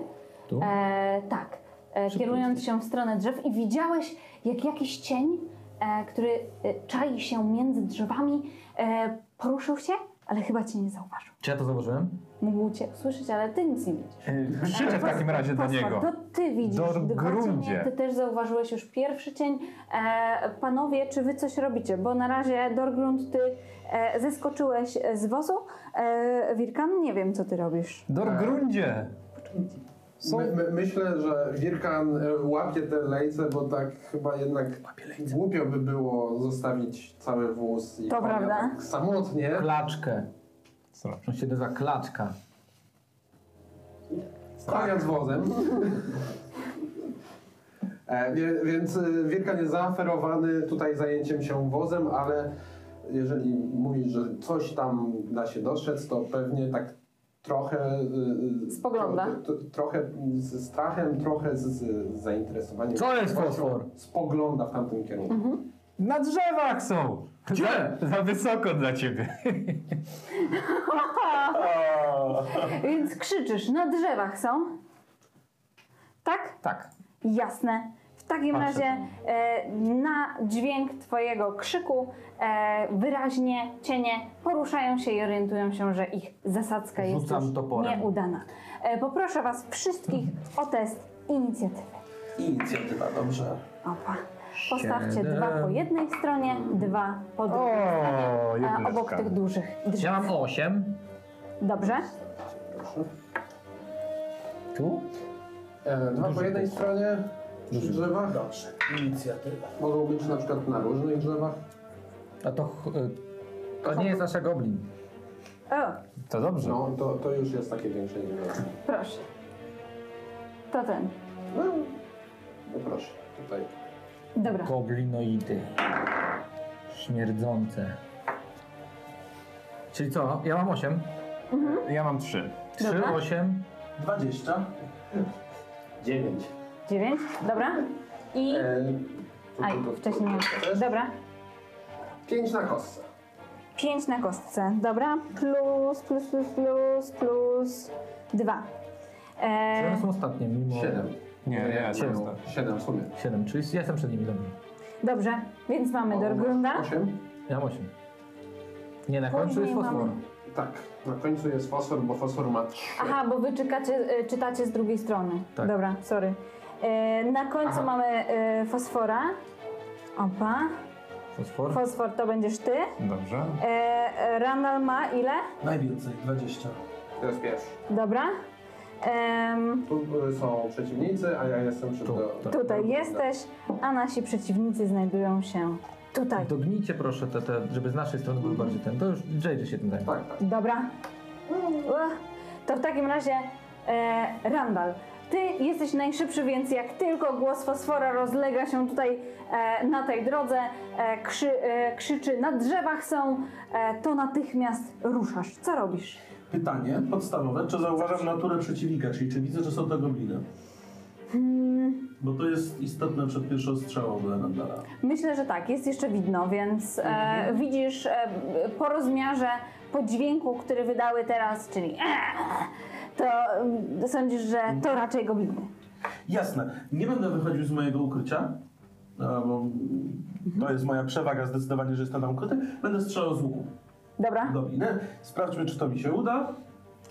[SPEAKER 5] Tu?
[SPEAKER 2] E, tak. E, kierując się w stronę drzew i widziałeś, jak jakiś cień, e, który e, czai się między drzewami, e, poruszył się, ale chyba cię nie zauważył.
[SPEAKER 5] Czy ja to zauważyłem?
[SPEAKER 2] Mógł cię usłyszeć, ale ty nic nie widzisz.
[SPEAKER 3] E, Krzyczę w takim razie do
[SPEAKER 2] Fosfor,
[SPEAKER 3] niego.
[SPEAKER 2] To ty widzisz
[SPEAKER 3] Do
[SPEAKER 2] dwa cienie,
[SPEAKER 3] gruncie.
[SPEAKER 2] ty też zauważyłeś już pierwszy cień. E, panowie, czy wy coś robicie? Bo na razie, Dorgrund, ty e, zeskoczyłeś
[SPEAKER 5] Tak.
[SPEAKER 2] z wozu. E, Wirkan, nie wiem, co ty robisz.
[SPEAKER 3] Dorgrundzie!
[SPEAKER 7] My, my, myślę, że Wirkan e, łapie te lejce, bo tak chyba jednak głupio by było zostawić cały wóz i
[SPEAKER 2] To
[SPEAKER 7] konia
[SPEAKER 2] prawda.
[SPEAKER 7] tak samotnie.
[SPEAKER 5] Klaczkę.
[SPEAKER 3] Co?
[SPEAKER 5] On się nazywa klaczka.
[SPEAKER 7] Konia z wozem. E, wie- Więc y, Wirkan jest zaaferowany tutaj zajęciem się wozem, ale jeżeli mówisz, że coś tam da się dostrzec, to pewnie tak trochę... y, y,
[SPEAKER 2] Spogląda.
[SPEAKER 7] tro- tro- Trochę ze strachem, trochę z z zainteresowaniem.
[SPEAKER 5] Co jest
[SPEAKER 7] Właśnie
[SPEAKER 5] fosfor?
[SPEAKER 7] Spogląda w tamtym kierunku.
[SPEAKER 2] Mhm.
[SPEAKER 3] Na drzewach są!
[SPEAKER 5] Gdzie?
[SPEAKER 3] Za, za wysoko dla ciebie.
[SPEAKER 2] Więc krzyczysz, na drzewach są? Tak?
[SPEAKER 3] Tak.
[SPEAKER 2] Jasne. W takim
[SPEAKER 3] Patrzę
[SPEAKER 2] razie e, na dźwięk Twojego krzyku e, wyraźnie cienie poruszają się i orientują się, że ich zasadzka jest
[SPEAKER 5] Rzucam
[SPEAKER 2] już
[SPEAKER 5] toporem.
[SPEAKER 2] nieudana. E, poproszę Was wszystkich o test inicjatywy.
[SPEAKER 4] Inicjatywa, dobrze.
[SPEAKER 2] Opa. Postawcie dwa po jednej stronie, dwa po drugiej
[SPEAKER 3] O,
[SPEAKER 2] stronie, e,
[SPEAKER 3] jedyneczka.
[SPEAKER 2] obok tych dużych
[SPEAKER 5] Ja
[SPEAKER 2] drzew.
[SPEAKER 5] mam 8.
[SPEAKER 2] Dobrze?
[SPEAKER 5] Tu?
[SPEAKER 7] E, Dwa po jednej stronie przy drzewach.
[SPEAKER 4] Dobrze. Inicjatywa.
[SPEAKER 7] Mogą być na przykład na różnych drzewach.
[SPEAKER 5] A to. ch- y, To nie jest nasza goblin.
[SPEAKER 2] O,
[SPEAKER 3] To dobrze.
[SPEAKER 7] No, to, to już jest takie większe niż
[SPEAKER 2] proszę. To ten.
[SPEAKER 7] No, no proszę, tutaj.
[SPEAKER 2] Dobra.
[SPEAKER 5] Goblinoidy. Śmierdzące. Czyli co? Ja mam 8.
[SPEAKER 3] Ja mam trzy.
[SPEAKER 5] 3,
[SPEAKER 2] Dobra.
[SPEAKER 5] 8.
[SPEAKER 4] 20.
[SPEAKER 7] Dziewięć.
[SPEAKER 2] Dziewięć. Dobra. I...
[SPEAKER 7] E, tu,
[SPEAKER 2] Aj,
[SPEAKER 7] tu, tu, tu.
[SPEAKER 2] wcześniej miałem. Dobra.
[SPEAKER 7] Pięć na kostce.
[SPEAKER 2] 5 na kostce, dobra? Plus, plus, plus, plus, plus 2.
[SPEAKER 5] Czy
[SPEAKER 2] E,
[SPEAKER 5] one są ostatnie mimo.
[SPEAKER 7] Siedem.
[SPEAKER 3] Nie, nie,
[SPEAKER 7] siedem.
[SPEAKER 3] to jest
[SPEAKER 7] Siedem w sumie.
[SPEAKER 5] 7, czyli jestem przed nimi dobrze.
[SPEAKER 2] dobrze, więc mamy do grunda.
[SPEAKER 7] Osiem?
[SPEAKER 5] Ja mam 8. Nie, na końcu jest
[SPEAKER 2] Później
[SPEAKER 5] fosfor.
[SPEAKER 2] mamy-
[SPEAKER 7] Tak, na końcu jest fosfor, bo fosfor ma trzy.
[SPEAKER 2] Aha, bo wy czytacie, e, czytacie z drugiej strony.
[SPEAKER 5] Tak.
[SPEAKER 2] Dobra, sorry. E, na końcu
[SPEAKER 7] Aha.
[SPEAKER 2] mamy e, fosfora. Opa,
[SPEAKER 5] Fosfor?
[SPEAKER 2] fosfor to będziesz ty.
[SPEAKER 3] Dobrze.
[SPEAKER 2] E, e, Ranal ma ile?
[SPEAKER 4] Najwięcej, 20.
[SPEAKER 7] To jest pierwszy.
[SPEAKER 2] Dobra. Em,
[SPEAKER 7] Tu y, są przeciwnicy, a ja jestem przy
[SPEAKER 5] Tu,
[SPEAKER 7] do-
[SPEAKER 5] tak.
[SPEAKER 2] tutaj jesteś, a nasi przeciwnicy znajdują się tutaj.
[SPEAKER 5] Dognijcie proszę te, te, żeby z naszej strony
[SPEAKER 2] Mhm.
[SPEAKER 5] był bardziej ten. To już JJ się tym zajmie.
[SPEAKER 7] Tak, tak.
[SPEAKER 2] Dobra. Ech, To w takim razie e, Randall. Ty jesteś najszybszy, więc jak tylko głos fosfora rozlega się tutaj e, na tej drodze, e, krzy, e, krzyczy na drzewach są, e, to natychmiast ruszasz. Co robisz?
[SPEAKER 4] Pytanie podstawowe, czy zauważam naturę przeciwnika, czyli czy widzę, że są to gobliny?
[SPEAKER 2] Hmm,
[SPEAKER 4] Bo to jest istotne przed pierwszą strzałą dla Nandala.
[SPEAKER 2] myślę, że tak, jest jeszcze widno, więc e, widzisz e, po rozmiarze, po dźwięku, który wydały teraz, czyli e, to mm, sądzisz, że to raczej gobliny.
[SPEAKER 4] Jasne, nie będę wychodził z mojego ukrycia, e, bo to jest moja przewaga zdecydowanie, że jestem tam ukryty. Będę strzelał z łuku
[SPEAKER 2] Dobra?
[SPEAKER 4] w dobinę. Sprawdźmy, czy to mi się uda.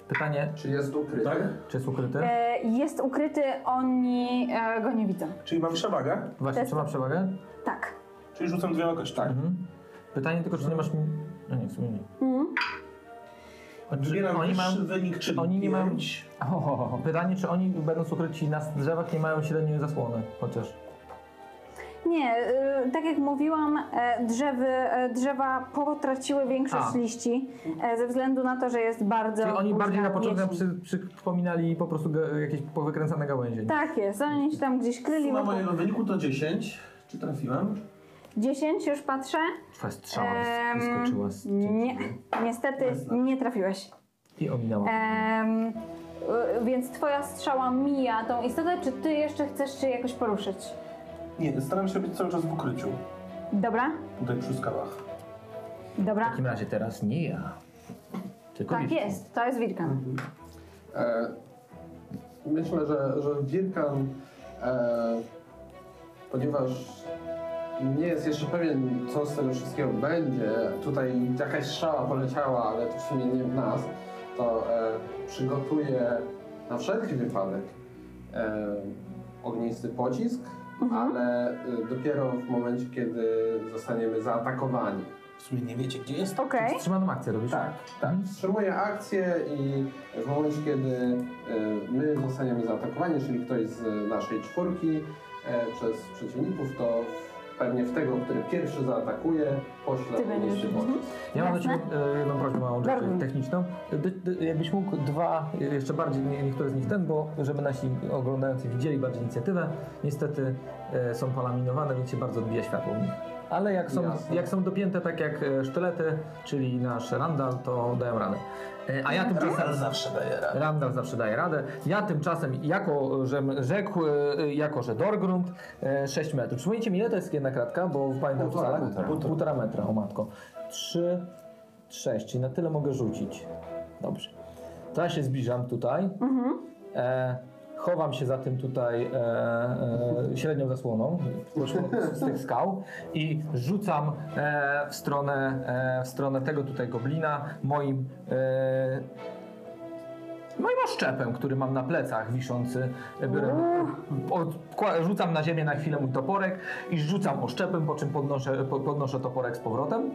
[SPEAKER 5] Pytanie,
[SPEAKER 7] Czy jest ukryty?
[SPEAKER 4] Tak.
[SPEAKER 5] czy jest ukryty?
[SPEAKER 2] E, Jest ukryty, oni e, go nie widzą.
[SPEAKER 4] Czyli mam przewagę,
[SPEAKER 5] Właśnie, czy ma przewagę?
[SPEAKER 2] Tak.
[SPEAKER 4] czyli rzucam dwiema kościami.
[SPEAKER 5] Mhm. Pytanie tylko, czy nie masz... No nie, w sumie nie.
[SPEAKER 2] Mhm.
[SPEAKER 5] A czy
[SPEAKER 4] Wybieram
[SPEAKER 5] oni
[SPEAKER 4] wyższy
[SPEAKER 5] mają-
[SPEAKER 4] wynik, czyli
[SPEAKER 5] oni nie mają-
[SPEAKER 4] pięć.
[SPEAKER 5] O, Pytanie, czy oni będąc ukryci na drzewach nie mają średniej zasłony chociaż.
[SPEAKER 2] Nie, e, tak jak mówiłam, e, drzewy, e, drzewa potraciły większość
[SPEAKER 5] A.
[SPEAKER 2] liści e, ze względu na to, że jest bardzo.
[SPEAKER 5] Czyli oni
[SPEAKER 2] duża
[SPEAKER 5] bardziej na początku nam
[SPEAKER 2] jesień.
[SPEAKER 5] przy, przypominali po prostu ga- jakieś powykręcane gałęzie. nie?
[SPEAKER 2] Tak jest, oni się tam gdzieś kryli.
[SPEAKER 4] Suma
[SPEAKER 2] wokół.
[SPEAKER 4] mojego wyniku to 10. Czy trafiłem?
[SPEAKER 2] 10 już patrzę.
[SPEAKER 5] Twoja strzała
[SPEAKER 2] Em,
[SPEAKER 5] wyskoczyła z
[SPEAKER 2] Nie, niestety nie trafiłeś.
[SPEAKER 5] i ominęła.
[SPEAKER 2] Em, e, więc twoja strzała mija tą istotę. Czy ty jeszcze chcesz się jakoś poruszyć?
[SPEAKER 4] Nie, staram się być cały czas w ukryciu.
[SPEAKER 2] Dobra,
[SPEAKER 4] Tutaj przy skałach.
[SPEAKER 5] W
[SPEAKER 2] dobra.
[SPEAKER 5] takim razie teraz nie ja, tylko
[SPEAKER 2] Tak
[SPEAKER 5] Wilczek.
[SPEAKER 2] jest, to jest Wilkan.
[SPEAKER 7] E, myślę, że, że Wirkan, e, ponieważ nie jest jeszcze pewien, co z tego wszystkiego będzie, tutaj jakaś strzała poleciała, ale to w sumie nie w nas, to e, przygotuje na wszelki wypadek e, ognisty pocisk, ale e, dopiero w momencie, kiedy zostaniemy zaatakowani.
[SPEAKER 9] W sumie nie wiecie, gdzie jest.
[SPEAKER 2] Okej.
[SPEAKER 5] Wstrzymaną akcję robisz?
[SPEAKER 7] Tak, tak. Wstrzymuję akcję i w momencie, kiedy e, my zostaniemy zaatakowani, czyli ktoś z e, naszej czwórki e, przez przeciwników, to pewnie w tego, który pierwszy zaatakuje, pośle
[SPEAKER 2] Ty będziesz.
[SPEAKER 7] mniejszy
[SPEAKER 2] Mhm.
[SPEAKER 7] bonus.
[SPEAKER 5] Ja mam do
[SPEAKER 2] Jasne.
[SPEAKER 5] ciebie e, jedną prośbę małą rzecz
[SPEAKER 2] Bardzo.
[SPEAKER 5] techniczną. D- d- jakbyś mógł dwa, e, jeszcze bardziej nie- niektóre z nich ten, bo żeby nasi oglądający widzieli bardziej inicjatywę, niestety e, są polaminowane, więc się bardzo odbija światło u nich. Ale jak są,
[SPEAKER 7] Jasne.
[SPEAKER 5] jak są dopięte tak jak e, sztylety, czyli nasz Randall, to dają radę. E, a ja tymczasem...
[SPEAKER 9] Randall zawsze daje radę.
[SPEAKER 5] Randall zawsze daje radę. Ja tymczasem, jako że m- rzekł, e, jako że Dorgrund, e, 6 metrów. Przypomnijcie mi, ile to jest jedna kratka, bo pamiętam w
[SPEAKER 7] Półtora
[SPEAKER 5] salach.
[SPEAKER 7] metra.
[SPEAKER 5] Półtora. Półtora metra, o matko. 3, 6, czyli na tyle mogę rzucić. Dobrze. To ja się zbliżam tutaj.
[SPEAKER 2] Mhm.
[SPEAKER 5] E, chowam się za tym tutaj e, e, średnią zasłoną pośród- z tych skał i rzucam e, w, stronę, e, w stronę tego tutaj goblina moim e, moim oszczepem, który mam na plecach wiszący. E, Biorę, odkła- rzucam na ziemię na chwilę mój toporek i rzucam oszczepem, po czym podnoszę, po- podnoszę toporek z powrotem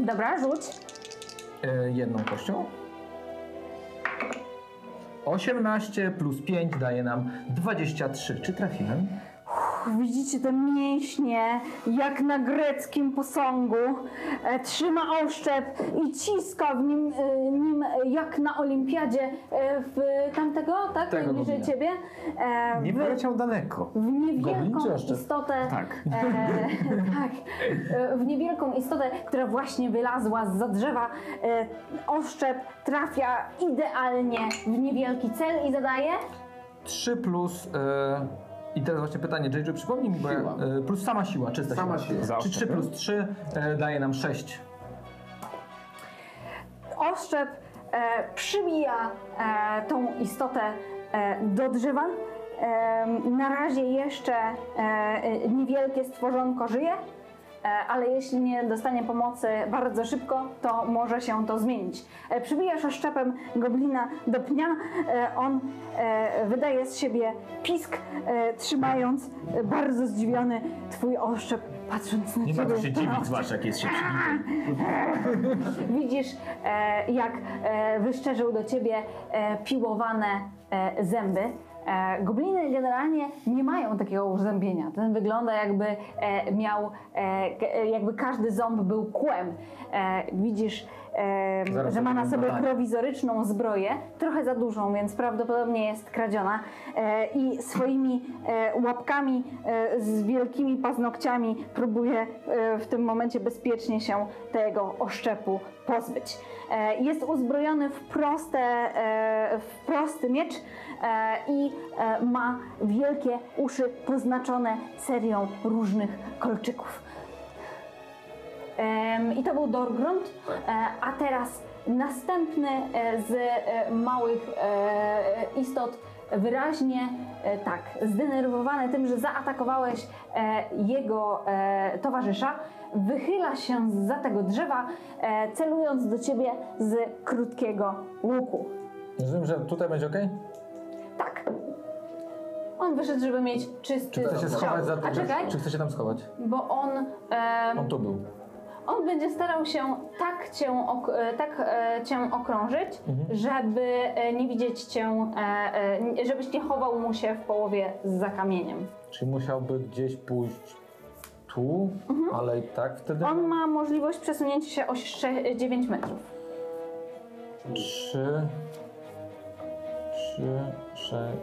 [SPEAKER 2] Dobra, rzuć.
[SPEAKER 5] e, jedną kością. 18 plus 5 daje nam 23. Czy trafiłem?
[SPEAKER 2] Uff, Widzicie te mięśnie, jak na greckim posągu. E, trzyma oszczep i ciska w nim, e, nim e, jak na olimpiadzie e, w tamtego, tak?
[SPEAKER 5] Tego
[SPEAKER 2] Najbliżej
[SPEAKER 5] goblina.
[SPEAKER 2] ciebie. E,
[SPEAKER 3] Nie
[SPEAKER 2] w,
[SPEAKER 3] poleciał daleko.
[SPEAKER 2] w
[SPEAKER 5] Goblin czy
[SPEAKER 2] niewielką
[SPEAKER 5] oszczep?
[SPEAKER 2] istotę.
[SPEAKER 3] Tak.
[SPEAKER 2] E, tak, e, w niewielką istotę, która właśnie wylazła z drzewa, e, oszczep trafia idealnie w niewielki cel i zadaje
[SPEAKER 5] 3 plus. E, I teraz właśnie pytanie, JJ, przypomnij mi, bo ja,
[SPEAKER 7] Siła.
[SPEAKER 5] e, plus sama siła, czysta
[SPEAKER 7] Sama
[SPEAKER 5] siła.
[SPEAKER 7] siła.
[SPEAKER 5] Czy 3 plus 3 e, daje nam 6?
[SPEAKER 2] oszczep e, przybija e, tą istotę e, do drzewa. E, na razie jeszcze e, e, niewielkie stworzonko żyje, e, ale jeśli nie dostanie pomocy bardzo szybko, to może się to zmienić. E, przybijasz oszczepem goblina do pnia. E, on e, wydaje z siebie pisk, e, trzymając e, bardzo zdziwiony twój oszczep, patrząc na
[SPEAKER 8] Nie
[SPEAKER 2] ciebie.
[SPEAKER 8] ma co się dziwić,
[SPEAKER 2] stanowczo.
[SPEAKER 8] zwłaszcza jak jest się przybitym.
[SPEAKER 2] Widzisz, e, jak e, wyszczerzył do ciebie e, piłowane e, zęby. E, gobliny generalnie nie mają takiego uzębienia. Ten wygląda jakby e, miał, e, k- e, jakby każdy ząb był kłem. E, widzisz, e,
[SPEAKER 5] Zaraz
[SPEAKER 2] że ma na
[SPEAKER 5] powiem
[SPEAKER 2] sobie
[SPEAKER 5] dalej.
[SPEAKER 2] prowizoryczną zbroję, trochę za dużą, więc prawdopodobnie jest kradziona. E, I swoimi e, łapkami e, z wielkimi paznokciami próbuje e, w tym momencie bezpiecznie się tego oszczepu pozbyć. E, jest uzbrojony w, proste, e, w prosty miecz e, i e, ma wielkie uszy poznaczone serią różnych kolczyków. Em, I to był Dorgrund,
[SPEAKER 5] Tak.
[SPEAKER 2] E, a teraz następny e, z e, małych e, istot wyraźnie e, tak, zdenerwowany tym, że zaatakowałeś e, jego e, towarzysza, wychyla się za tego drzewa, e, celując do ciebie z krótkiego łuku.
[SPEAKER 5] Rozumiem, że tutaj będzie ok?
[SPEAKER 2] Tak. On wyszedł, żeby mieć czysty
[SPEAKER 5] Czy chce się
[SPEAKER 2] strzał.
[SPEAKER 5] schować za
[SPEAKER 2] A
[SPEAKER 5] tym?
[SPEAKER 2] czekaj,
[SPEAKER 5] Czy chce się tam schować?
[SPEAKER 2] bo on... e, em,
[SPEAKER 5] On tu był.
[SPEAKER 2] On będzie starał się tak cię, ok- e, tak e, cię okrążyć,
[SPEAKER 5] Mhm.
[SPEAKER 2] żeby e, nie widzieć cię, e, e, n- żebyś nie chował mu się w połowie za kamieniem.
[SPEAKER 5] Czy musiałby gdzieś pójść tu, ale i tak wtedy?
[SPEAKER 2] Mhm. On ma możliwość przesunięcia się o sze- 9 metrów.
[SPEAKER 5] 3, 3, 6.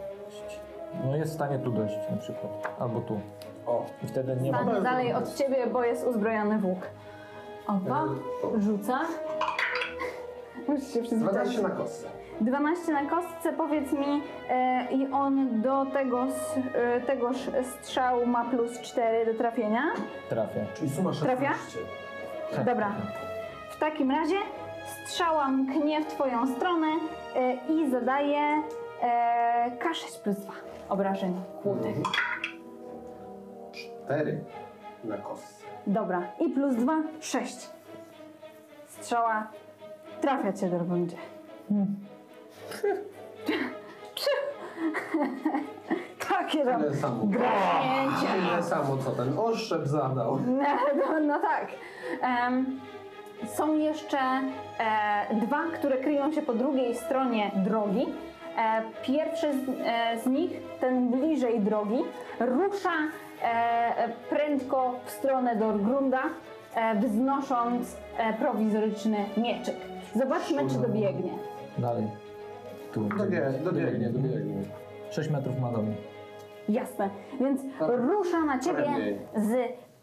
[SPEAKER 5] No jest w stanie tu dojść na przykład. Albo tu.
[SPEAKER 4] O.
[SPEAKER 5] I wtedy nie ma.
[SPEAKER 2] Stanie dalej od ciebie, bo jest uzbrojony w łuk. Opa, rzuca. Musisz się przyzwyczaić.
[SPEAKER 7] 12 na kostce.
[SPEAKER 2] 12 na kostce, powiedz mi, e, i on do tego, s- e, tegoż strzału ma plus 4 do trafienia.
[SPEAKER 5] Trafia.
[SPEAKER 4] Czyli suma
[SPEAKER 2] Trafia?
[SPEAKER 4] 16.
[SPEAKER 2] Dobra. W takim razie strzała mknie w twoją stronę e, i zadaje e, K6 plus 2 obrażeń kłutych.
[SPEAKER 7] 4 na kostce.
[SPEAKER 2] Dobra. I plus 2, 6. Strzała trafia cię do rundzie. Takie tam
[SPEAKER 7] Tyle samo.
[SPEAKER 2] graśnięcie.
[SPEAKER 7] Tyle samo, co ten oszczep zadał.
[SPEAKER 2] No, no, no tak. Em, Są jeszcze e, dwa, które kryją się po drugiej stronie drogi. E, pierwszy z, e, z nich, ten bliżej drogi, rusza e, prędko w stronę Dorgrunda, e, wznosząc e, prowizoryczny mieczyk. Zobaczmy, czy dobiegnie.
[SPEAKER 5] Dalej. Tu.
[SPEAKER 7] Dobie, dobiegnie, dobiegnie.
[SPEAKER 5] 6 metrów ma do mnie.
[SPEAKER 2] Jasne, więc rusza na ciebie
[SPEAKER 7] Prędzej.
[SPEAKER 2] z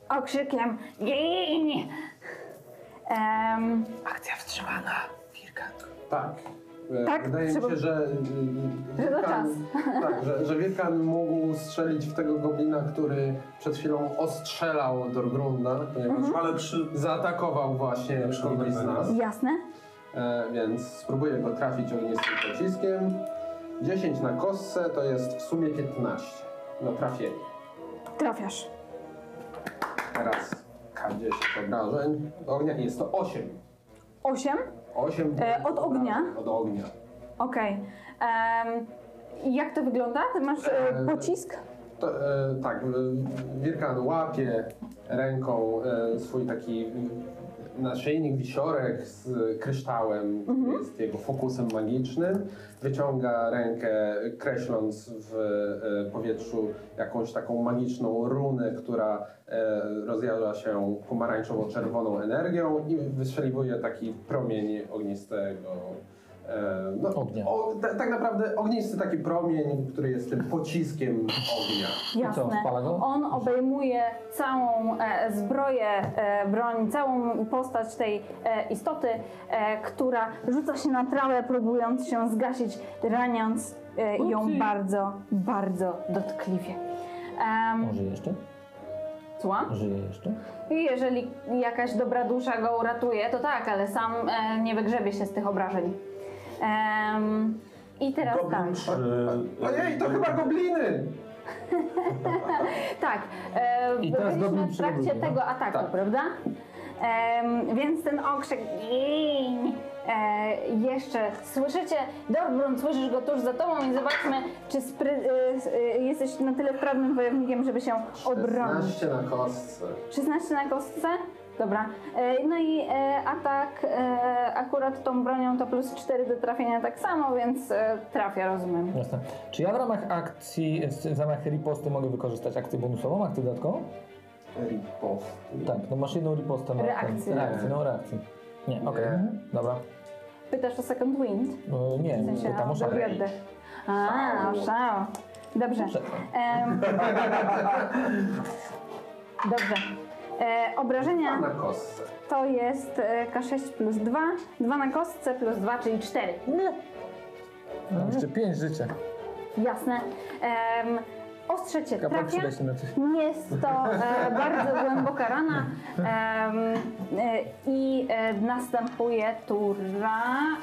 [SPEAKER 2] okrzykiem Gin! Em,
[SPEAKER 7] Tak. E,
[SPEAKER 2] Tak,
[SPEAKER 7] Wydaje
[SPEAKER 2] trzeba-
[SPEAKER 7] mi się, że...
[SPEAKER 2] Że to czas.
[SPEAKER 7] Tak, że, że Wiekan mógł strzelić w tego goblina, który przed chwilą ostrzelał Dorgrunda, ponieważ
[SPEAKER 2] Mhm.
[SPEAKER 4] Ale przy...
[SPEAKER 7] zaatakował właśnie kogoś z nas.
[SPEAKER 2] jasne,
[SPEAKER 7] E, więc spróbuję go trafić ognistym pociskiem. 10 na kostce to jest w sumie 15 na trafienie.
[SPEAKER 2] trafiasz.
[SPEAKER 7] Teraz K10 obrażeń. Do ognia jest to 8.
[SPEAKER 2] Osiem?
[SPEAKER 7] 8
[SPEAKER 2] E, od ognia?
[SPEAKER 7] Od ognia.
[SPEAKER 2] Okej. Em, Jak to wygląda? Ty masz e, pocisk?
[SPEAKER 7] To, e, tak, e, Wirkan łapie ręką e, swój taki e, naszyjnik, wisiorek z kryształem, który jest jego fokusem magicznym. Wyciąga rękę, kreśląc w e, powietrzu jakąś taką magiczną runę, która e, rozjarza się pomarańczowo-czerwoną energią i wystrzeliwuje taki promień ognistego. e, No,
[SPEAKER 5] Ognia.
[SPEAKER 7] O, ta, tak naprawdę ognisty taki promień, który jest tym pociskiem ognia.
[SPEAKER 5] co,
[SPEAKER 2] Jasne.
[SPEAKER 5] spala go?
[SPEAKER 2] On obejmuje całą e, zbroję, e, broń, całą postać tej e, istoty, e, która rzuca się na trawę, próbując się zgasić, raniąc e, ją bardzo, bardzo dotkliwie. Um,
[SPEAKER 5] Może jeszcze?
[SPEAKER 2] Słucham?
[SPEAKER 5] Żyje jeszcze?
[SPEAKER 2] I Jeżeli jakaś dobra dusza go uratuje, to tak, ale sam e, nie wygrzebie się z tych obrażeń. Em, I teraz
[SPEAKER 4] Goblin
[SPEAKER 2] tak.
[SPEAKER 4] przy...
[SPEAKER 7] Ojej, No to chyba gobliny!
[SPEAKER 2] Tak, e,
[SPEAKER 5] I teraz
[SPEAKER 2] byliśmy
[SPEAKER 5] goblin
[SPEAKER 2] w trakcie
[SPEAKER 5] przewodzi, no.
[SPEAKER 2] tego ataku, prawda? Em, więc ten okrzyk "Gin!" e, jeszcze słyszycie, Dorbrun, słyszysz go tuż za tobą i zobaczmy, czy spry, e, s- e, jesteś na tyle wprawnym wojownikiem, żeby się obronić.
[SPEAKER 7] 16 na kostce.
[SPEAKER 2] 16 na kostce? Dobra. E, No i e, atak e, akurat tą bronią to plus 4 do trafienia tak samo, więc e, trafia, rozumiem.
[SPEAKER 5] Jasne. Czy ja w ramach akcji, w w ramach riposty mogę wykorzystać akcję bonusową, akcję dodatkową?
[SPEAKER 7] Ripost.
[SPEAKER 5] Tak, no masz jedną ripostę. na ten-
[SPEAKER 2] Reakcję.
[SPEAKER 5] Reakcję, no reakcję. Nie, okej.
[SPEAKER 7] Nie.
[SPEAKER 5] mhm, Dobra.
[SPEAKER 2] Pytasz o second wind?
[SPEAKER 5] E, nie,
[SPEAKER 2] W sensie
[SPEAKER 5] tam
[SPEAKER 2] o
[SPEAKER 5] muszę.
[SPEAKER 2] dobry oddech. A, szał. Dobrze. Em, Dobrze. E, obrażenia
[SPEAKER 7] Na kostce.
[SPEAKER 2] to jest e, K6 plus 2, 2 na kostce plus 2, czyli No, 4.
[SPEAKER 5] Mam No, jeszcze 5 życia.
[SPEAKER 2] Jasne. Em, ostrze cię
[SPEAKER 5] Kapra
[SPEAKER 2] trafia.
[SPEAKER 5] przyda się na coś.
[SPEAKER 2] Jest to e, bardzo głęboka rana em, e, i e, następuje tura.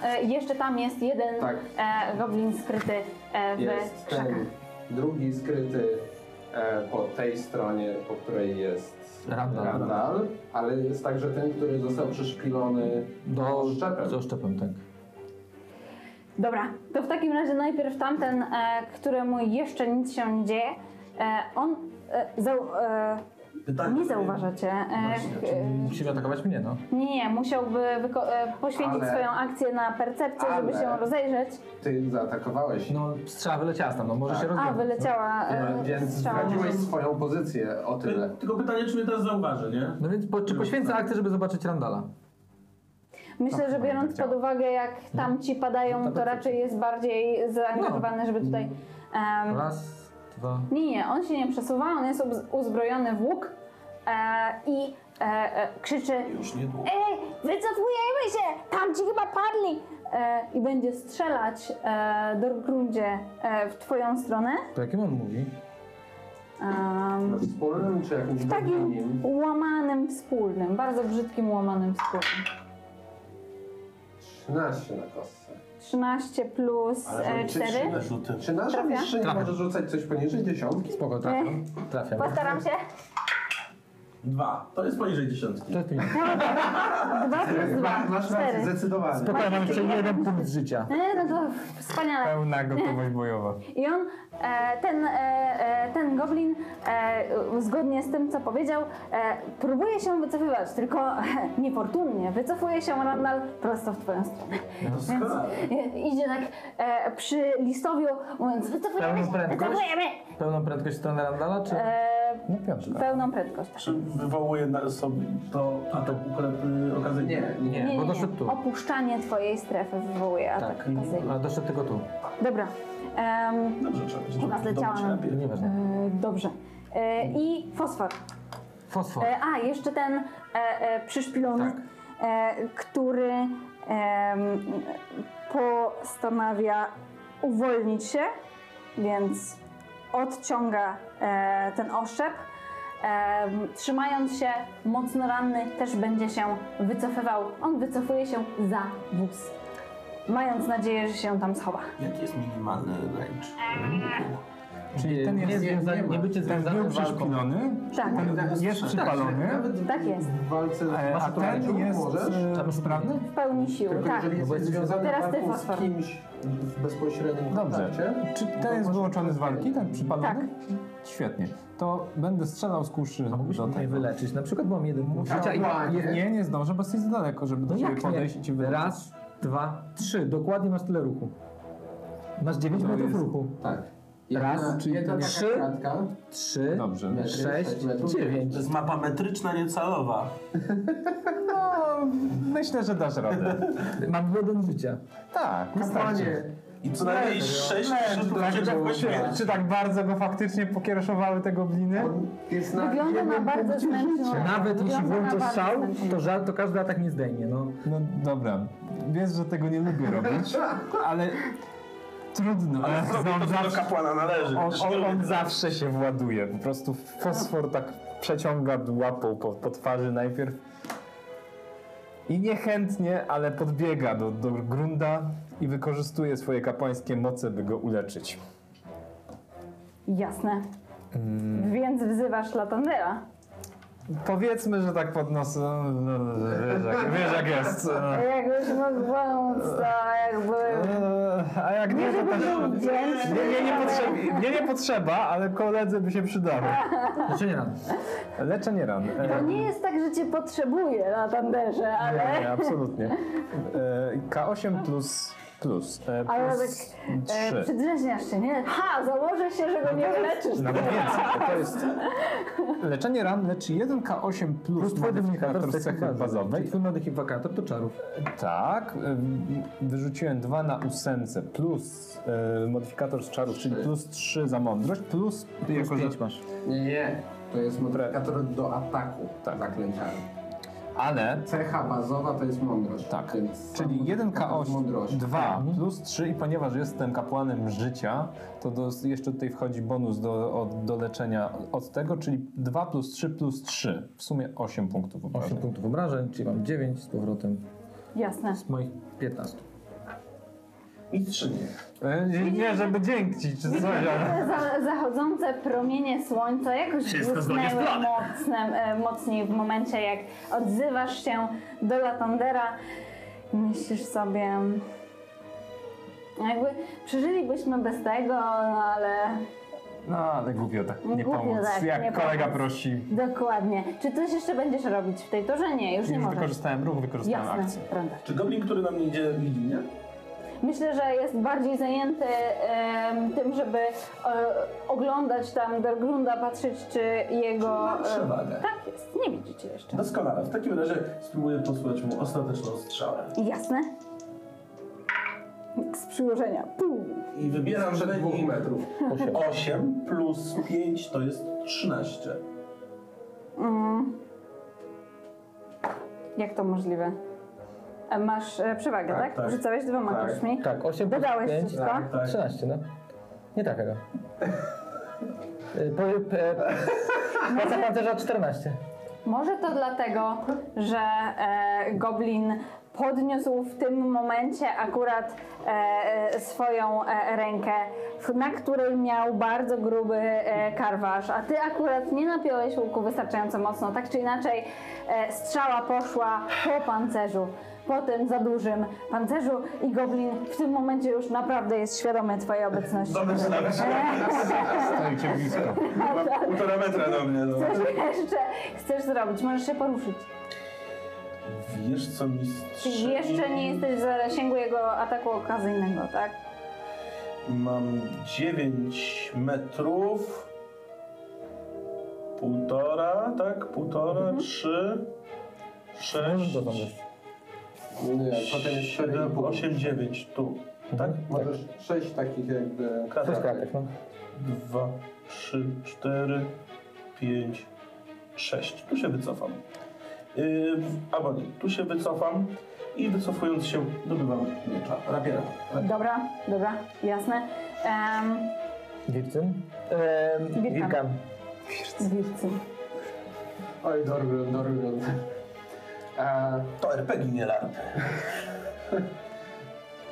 [SPEAKER 2] E, jeszcze tam jest jeden
[SPEAKER 7] Tak.
[SPEAKER 2] e, goblin skryty e, w
[SPEAKER 7] Jest
[SPEAKER 2] krzakach.
[SPEAKER 7] ten drugi skryty e, po tej stronie, po której jest e,
[SPEAKER 5] Randall.
[SPEAKER 7] Randall, ale jest także ten, który został przyszpilony do szczepem.
[SPEAKER 5] No, Z oszczepem, tak.
[SPEAKER 2] Dobra, to w takim razie najpierw tamten, e, któremu jeszcze nic się nie dzieje, e, on e, zau, e,
[SPEAKER 7] Tak,
[SPEAKER 4] Pytanie.
[SPEAKER 2] nie zauważacie. E, e,
[SPEAKER 5] Musisz atakować mnie, no.
[SPEAKER 2] nie, nie, musiałby wyko- e, poświęcić
[SPEAKER 7] Ale-
[SPEAKER 2] swoją akcję na percepcję, żeby
[SPEAKER 7] Ale-
[SPEAKER 2] się rozejrzeć.
[SPEAKER 7] Ty zaatakowałeś.
[SPEAKER 5] No, strzała wyleciała tam, no może
[SPEAKER 7] Tak.
[SPEAKER 5] się
[SPEAKER 2] A,
[SPEAKER 5] rozgląda.
[SPEAKER 2] wyleciała
[SPEAKER 7] E,
[SPEAKER 2] e,
[SPEAKER 7] Więc
[SPEAKER 2] strzała.
[SPEAKER 7] zdradziłeś swoją pozycję o
[SPEAKER 4] Ty,
[SPEAKER 7] tyle.
[SPEAKER 4] tylko pytanie, czy mnie teraz zauważy, nie?
[SPEAKER 5] No więc po, czy poświęcę akcję, żeby zobaczyć Randala?
[SPEAKER 2] Myślę,
[SPEAKER 7] Tak,
[SPEAKER 2] że biorąc pod uwagę, jak
[SPEAKER 7] No.
[SPEAKER 2] tamci padają, to raczej jest bardziej zaangażowany, żeby tutaj...
[SPEAKER 7] No.
[SPEAKER 2] em,
[SPEAKER 5] Raz, dwa.
[SPEAKER 2] Nie, nie, on się nie przesuwa, on jest obz- uzbrojony w łuk e, i e, e, krzyczy
[SPEAKER 9] Już niedługo.
[SPEAKER 2] Ej, wycofujemy się! Tam ci chyba padli! E, I będzie strzelać e, do grundzie e, w twoją stronę.
[SPEAKER 5] To jakim on mówi?
[SPEAKER 2] Em,
[SPEAKER 7] Wspólnym czy jakimś
[SPEAKER 2] w takim
[SPEAKER 7] drugim?
[SPEAKER 2] łamanym wspólnym, bardzo brzydkim łamanym wspólnym.
[SPEAKER 7] 13 na kostce.
[SPEAKER 2] 13 plus e, 4.
[SPEAKER 4] Rzuty.
[SPEAKER 7] Czy nasza
[SPEAKER 2] Trafia?
[SPEAKER 7] mistrzyni
[SPEAKER 5] Trafia.
[SPEAKER 7] może rzucać coś poniżej dziesiątki?
[SPEAKER 5] Spoko, trafiam. Trafiam.
[SPEAKER 2] Postaram się.
[SPEAKER 4] Dwa. To jest poniżej dziesiątki.
[SPEAKER 5] To ty.
[SPEAKER 2] Tak. Dwa plus dwa.
[SPEAKER 7] Masz rację,
[SPEAKER 2] Cztery.
[SPEAKER 7] zdecydowanie.
[SPEAKER 5] Spokojnie, mam jeszcze jeden punkt życia.
[SPEAKER 2] E, no to wspaniale.
[SPEAKER 3] Pełna gotowość bojowa.
[SPEAKER 2] I on, e, ten, e, e, ten goblin, e, zgodnie z tym, co powiedział, e, próbuje się wycofywać, tylko niefortunnie wycofuje się Randall prosto w twoją stronę. Więc e, idzie tak e, przy listowiu, mówiąc wycofujemy
[SPEAKER 5] Pełną
[SPEAKER 2] się,
[SPEAKER 5] prędkość?
[SPEAKER 2] wycofujemy!
[SPEAKER 5] Pełną prędkość w stronę Randala, czy...
[SPEAKER 2] E,
[SPEAKER 3] No piątka.
[SPEAKER 2] pełną prędkość. tak.
[SPEAKER 4] Czy wywołuje na sobie to y, atak ukryty okazyjny?
[SPEAKER 7] Nie, nie.
[SPEAKER 5] Nie, bo doszedł tu.
[SPEAKER 2] Opuszczanie twojej strefy wywołuje atak
[SPEAKER 5] Tak.
[SPEAKER 2] okazyjny.
[SPEAKER 5] A doszedł tylko tu.
[SPEAKER 2] Dobra. Em,
[SPEAKER 4] Dobrze, trzeba będzie
[SPEAKER 2] Chyba
[SPEAKER 4] dobić
[SPEAKER 2] zleciała nam.
[SPEAKER 4] najpierw.
[SPEAKER 5] Nieważne.
[SPEAKER 2] e, dobrze. E, I fosfor.
[SPEAKER 5] Fosfor.
[SPEAKER 2] E, a, jeszcze ten e, e, przyszpilony,
[SPEAKER 5] Tak.
[SPEAKER 2] e, który em, postanawia uwolnić się, więc odciąga e, ten oszczep. Em, trzymając się mocno ranny, też będzie się wycofywał. On wycofuje się za wóz, mając nadzieję, że się tam schowa.
[SPEAKER 9] Jaki jest minimalny range?
[SPEAKER 5] Czyli ten nie,
[SPEAKER 3] jest-
[SPEAKER 5] związa- nie bycie
[SPEAKER 3] Ten
[SPEAKER 5] związanym
[SPEAKER 3] był
[SPEAKER 5] z walką.
[SPEAKER 3] przyszpilony,
[SPEAKER 2] Tak,
[SPEAKER 3] ten jest przypalony,
[SPEAKER 2] tak jest.
[SPEAKER 7] W walce
[SPEAKER 3] e, a
[SPEAKER 7] masz
[SPEAKER 3] ten
[SPEAKER 7] ten
[SPEAKER 3] jest
[SPEAKER 7] możesz.
[SPEAKER 5] Tam
[SPEAKER 3] e,
[SPEAKER 5] jest
[SPEAKER 3] sprawny?
[SPEAKER 2] W pełni siły,
[SPEAKER 7] Tylko
[SPEAKER 2] tak.
[SPEAKER 7] jeżeli
[SPEAKER 5] bo
[SPEAKER 7] jesteś
[SPEAKER 5] jest-
[SPEAKER 7] związany
[SPEAKER 2] teraz ty,
[SPEAKER 7] walką
[SPEAKER 2] fosfor.
[SPEAKER 7] z kimś w bezpośrednim
[SPEAKER 3] Dobrze.
[SPEAKER 7] kontakcie,
[SPEAKER 3] Czy
[SPEAKER 7] to
[SPEAKER 3] ten jest
[SPEAKER 7] możesz-
[SPEAKER 3] wyłączony z walki, ten przypalony?
[SPEAKER 2] Tak.
[SPEAKER 3] Świetnie. To będę strzelał z kuszy
[SPEAKER 5] A mógłbyś
[SPEAKER 3] do
[SPEAKER 5] mnie
[SPEAKER 3] tego.
[SPEAKER 5] wyleczyć. Na przykład mam jeden punkt
[SPEAKER 7] A,
[SPEAKER 5] życia i...
[SPEAKER 7] ładnie.
[SPEAKER 3] Nie, nie zdążę, bo jesteś za daleko, żeby do
[SPEAKER 5] No
[SPEAKER 3] ciebie
[SPEAKER 5] jak
[SPEAKER 3] podejść i cię
[SPEAKER 5] nie?
[SPEAKER 3] wyleczyć.
[SPEAKER 5] Raz, dwa, trzy. Dokładnie masz tyle ruchu. Masz 9
[SPEAKER 7] To
[SPEAKER 5] metrów
[SPEAKER 7] jest-
[SPEAKER 5] ruchu.
[SPEAKER 7] Tak.
[SPEAKER 5] Raz, czyli
[SPEAKER 7] jedna taka
[SPEAKER 5] trzy.
[SPEAKER 7] kratka,
[SPEAKER 5] Trzy,
[SPEAKER 3] Dobrze.
[SPEAKER 7] metry,
[SPEAKER 5] sześć,
[SPEAKER 7] sześć metrów.
[SPEAKER 5] dziewięć.
[SPEAKER 4] To jest mapa metryczna, niecalowa.
[SPEAKER 3] No, myślę, że dasz radę.
[SPEAKER 5] Mam jeden życia.
[SPEAKER 3] Tak,
[SPEAKER 7] Kapłanie,
[SPEAKER 3] wystarczy.
[SPEAKER 4] I co najmniej
[SPEAKER 7] Metr,
[SPEAKER 4] sześć
[SPEAKER 3] metr,
[SPEAKER 4] szybów
[SPEAKER 3] tak
[SPEAKER 4] przeciwko
[SPEAKER 7] było,
[SPEAKER 4] śmierci.
[SPEAKER 3] Czy tak bardzo go faktycznie pokiereszowały te gobliny?
[SPEAKER 7] on jest na
[SPEAKER 2] Wygląda na
[SPEAKER 7] jednym
[SPEAKER 2] bardzo
[SPEAKER 7] punkcie
[SPEAKER 2] zmęczonego.
[SPEAKER 5] Nawet
[SPEAKER 2] Wygląda
[SPEAKER 5] jeśli
[SPEAKER 2] na
[SPEAKER 5] włączę
[SPEAKER 2] bardzo
[SPEAKER 5] szał, to,
[SPEAKER 2] zmęczonego.
[SPEAKER 5] żal, to każdy atak nie zdejmie. No.
[SPEAKER 3] No dobra, wiesz, że tego nie lubię robić, ale trudno.
[SPEAKER 4] Ale zrobię to, co do kapłana należy.
[SPEAKER 3] on,
[SPEAKER 4] Zresztą
[SPEAKER 3] on, on
[SPEAKER 4] lubię-
[SPEAKER 3] zawsze się właduje. Po prostu fosfor tak przeciąga łapą po, po twarzy najpierw. I niechętnie, ale podbiega do, do grunda i wykorzystuje swoje kapłańskie moce, by go uleczyć.
[SPEAKER 2] Jasne. Więc wzywasz Latandera.
[SPEAKER 3] Powiedzmy, że tak pod nosem. no, Wiesz, jak, wiesz jak jest.
[SPEAKER 2] Jak już mógł pomóc, to jakby...
[SPEAKER 3] Eee, A jak nie, to też. Nie, nie, nie, potrzeb... nie, nie potrzeba, ale koledze by się przydało.
[SPEAKER 5] Znaczy nie rano.
[SPEAKER 3] Leczenie ran. Eee,
[SPEAKER 2] To nie jest tak, że cię potrzebuje, Latanderze,
[SPEAKER 3] Nie, nie,
[SPEAKER 2] ale...
[SPEAKER 3] absolutnie. Eee, K8 plus. Plus. eee,
[SPEAKER 2] Ale
[SPEAKER 3] plus
[SPEAKER 2] E,
[SPEAKER 3] 3.
[SPEAKER 2] Przedrzeźniasz się, nie? Ha, założę się, że go nie wyleczysz.
[SPEAKER 3] Nawet więcej. To jest. Leczenie ran leczy 1K8 plus,
[SPEAKER 5] Plus twój modyfikator z cechy bazowej.
[SPEAKER 3] bazowej.
[SPEAKER 5] Czyli twój modyfikator to czarów.
[SPEAKER 3] Tak. ym, Wyrzuciłem 2 na ósemce plus yy, modyfikator z czarów, czyli plus 3 za mądrość, plus. jako, że-
[SPEAKER 5] pięć masz.
[SPEAKER 7] Nie, nie. To jest modyfikator do ataku tak. zaklęciami.
[SPEAKER 3] Ale
[SPEAKER 7] Cecha bazowa to jest mądrość.
[SPEAKER 3] Tak.
[SPEAKER 7] Więc
[SPEAKER 3] Czyli
[SPEAKER 7] sam modyfikator
[SPEAKER 3] 1K8,
[SPEAKER 7] mądrości.
[SPEAKER 3] 2 plus 3 i ponieważ jestem kapłanem życia, to do, jeszcze tutaj wchodzi bonus do, od, do leczenia od tego, czyli 2 plus 3 plus 3, w sumie 8 punktów. obrażeń.
[SPEAKER 5] 8 punktów obrażeń, czyli mam 9 z powrotem
[SPEAKER 2] Jasne.
[SPEAKER 5] z moich 15.
[SPEAKER 4] Mistrzynie.
[SPEAKER 3] E, nie- Nie, żeby dzięki czy coś, ale...
[SPEAKER 2] Za, zachodzące promienie słońca jakoś
[SPEAKER 8] Wszystko zgodnie z
[SPEAKER 2] błysnęły
[SPEAKER 8] planem.
[SPEAKER 2] mocne, e, mocniej w momencie, jak odzywasz się do Latandera. Myślisz sobie... Jakby przeżylibyśmy bez tego, no ale
[SPEAKER 3] No, ale głupio tak, nie
[SPEAKER 2] Głupio
[SPEAKER 3] pomóc.
[SPEAKER 2] tak,
[SPEAKER 3] Jak
[SPEAKER 2] nie
[SPEAKER 3] kolega
[SPEAKER 2] pomóc.
[SPEAKER 3] prosi,
[SPEAKER 2] Dokładnie. Czy coś jeszcze będziesz robić w tej turze? Nie, już nie
[SPEAKER 3] już
[SPEAKER 2] możesz.
[SPEAKER 3] wykorzystałem ruch, wykorzystałem akcję.
[SPEAKER 2] Jasne, prawda.
[SPEAKER 4] Czy goblin, który nam nie idzie, widzi mnie?
[SPEAKER 2] Myślę, że jest bardziej zajęty em, tym, żeby e, oglądać tam Dergrunda, patrzeć, czy jego...
[SPEAKER 4] Ma przewagę.
[SPEAKER 2] tak jest, nie widzicie jeszcze.
[SPEAKER 4] Doskonale. W takim razie spróbuję posłać mu ostateczną strzałę.
[SPEAKER 2] Jasne. Z przyłożenia. Pum.
[SPEAKER 4] I wybieram
[SPEAKER 7] Przed dwóch
[SPEAKER 4] menu
[SPEAKER 7] metrów.
[SPEAKER 4] 8 plus 5 to jest 13.
[SPEAKER 2] Mm. Jak to możliwe? E, Masz e, przewagę, tak?
[SPEAKER 4] Tak, tak.
[SPEAKER 2] Rzucałeś dwoma
[SPEAKER 4] Tak.
[SPEAKER 2] kośćmi.
[SPEAKER 5] Tak, 8 plus
[SPEAKER 2] Dodałeś
[SPEAKER 5] 5.
[SPEAKER 2] wszystko?
[SPEAKER 4] tak.
[SPEAKER 5] 13, no. Nie tak, Ega. Y, Po, e, praca pancerza 14.
[SPEAKER 2] Może to dlatego, że e, goblin podniósł w tym momencie akurat e, e, swoją e, rękę, w- na której miał bardzo gruby e, karwasz, a ty akurat nie napiąłeś łuku wystarczająco mocno. Tak czy inaczej e, strzała poszła po pancerzu, po tym za dużym pancerzu i goblin w tym momencie już naprawdę jest świadomy twojej obecności.
[SPEAKER 4] Dobrze, dobrze.
[SPEAKER 6] Stajcie blisko.
[SPEAKER 4] Ma półtora metra do mnie. No.
[SPEAKER 2] Chcesz jeszcze, chcesz zrobić, możesz się poruszyć.
[SPEAKER 4] Wiesz co,
[SPEAKER 2] Czy
[SPEAKER 4] mistrz?
[SPEAKER 2] jeszcze nie jesteś w zasięgu jego ataku okazyjnego, tak?
[SPEAKER 4] Mam 9 metrów. Półtora, tak? Półtora, trzy, sześć,
[SPEAKER 5] Możesz dotąd dojść.
[SPEAKER 7] Nie, potem jest Mhm. 4,5.
[SPEAKER 4] siedem, osiem, dziewięć. Tu, tak?
[SPEAKER 7] Możesz 6 takich jakby...
[SPEAKER 5] Sześć
[SPEAKER 4] Kratak.
[SPEAKER 5] kratek, no.
[SPEAKER 4] Dwa, trzy, cztery, pięć, sześć. Tu się wycofam. Yy, albo nie, tu się wycofam i wycofując się dobywam miecza, rapiera.
[SPEAKER 2] Dobra, dobra, jasne. Um,
[SPEAKER 5] Wircyn? Ehm,
[SPEAKER 2] Wirkan.
[SPEAKER 5] Wirkan.
[SPEAKER 2] Wilcy.
[SPEAKER 7] Oj, Dorgrun, Dorgrun. E,
[SPEAKER 4] To RPG nie larpy.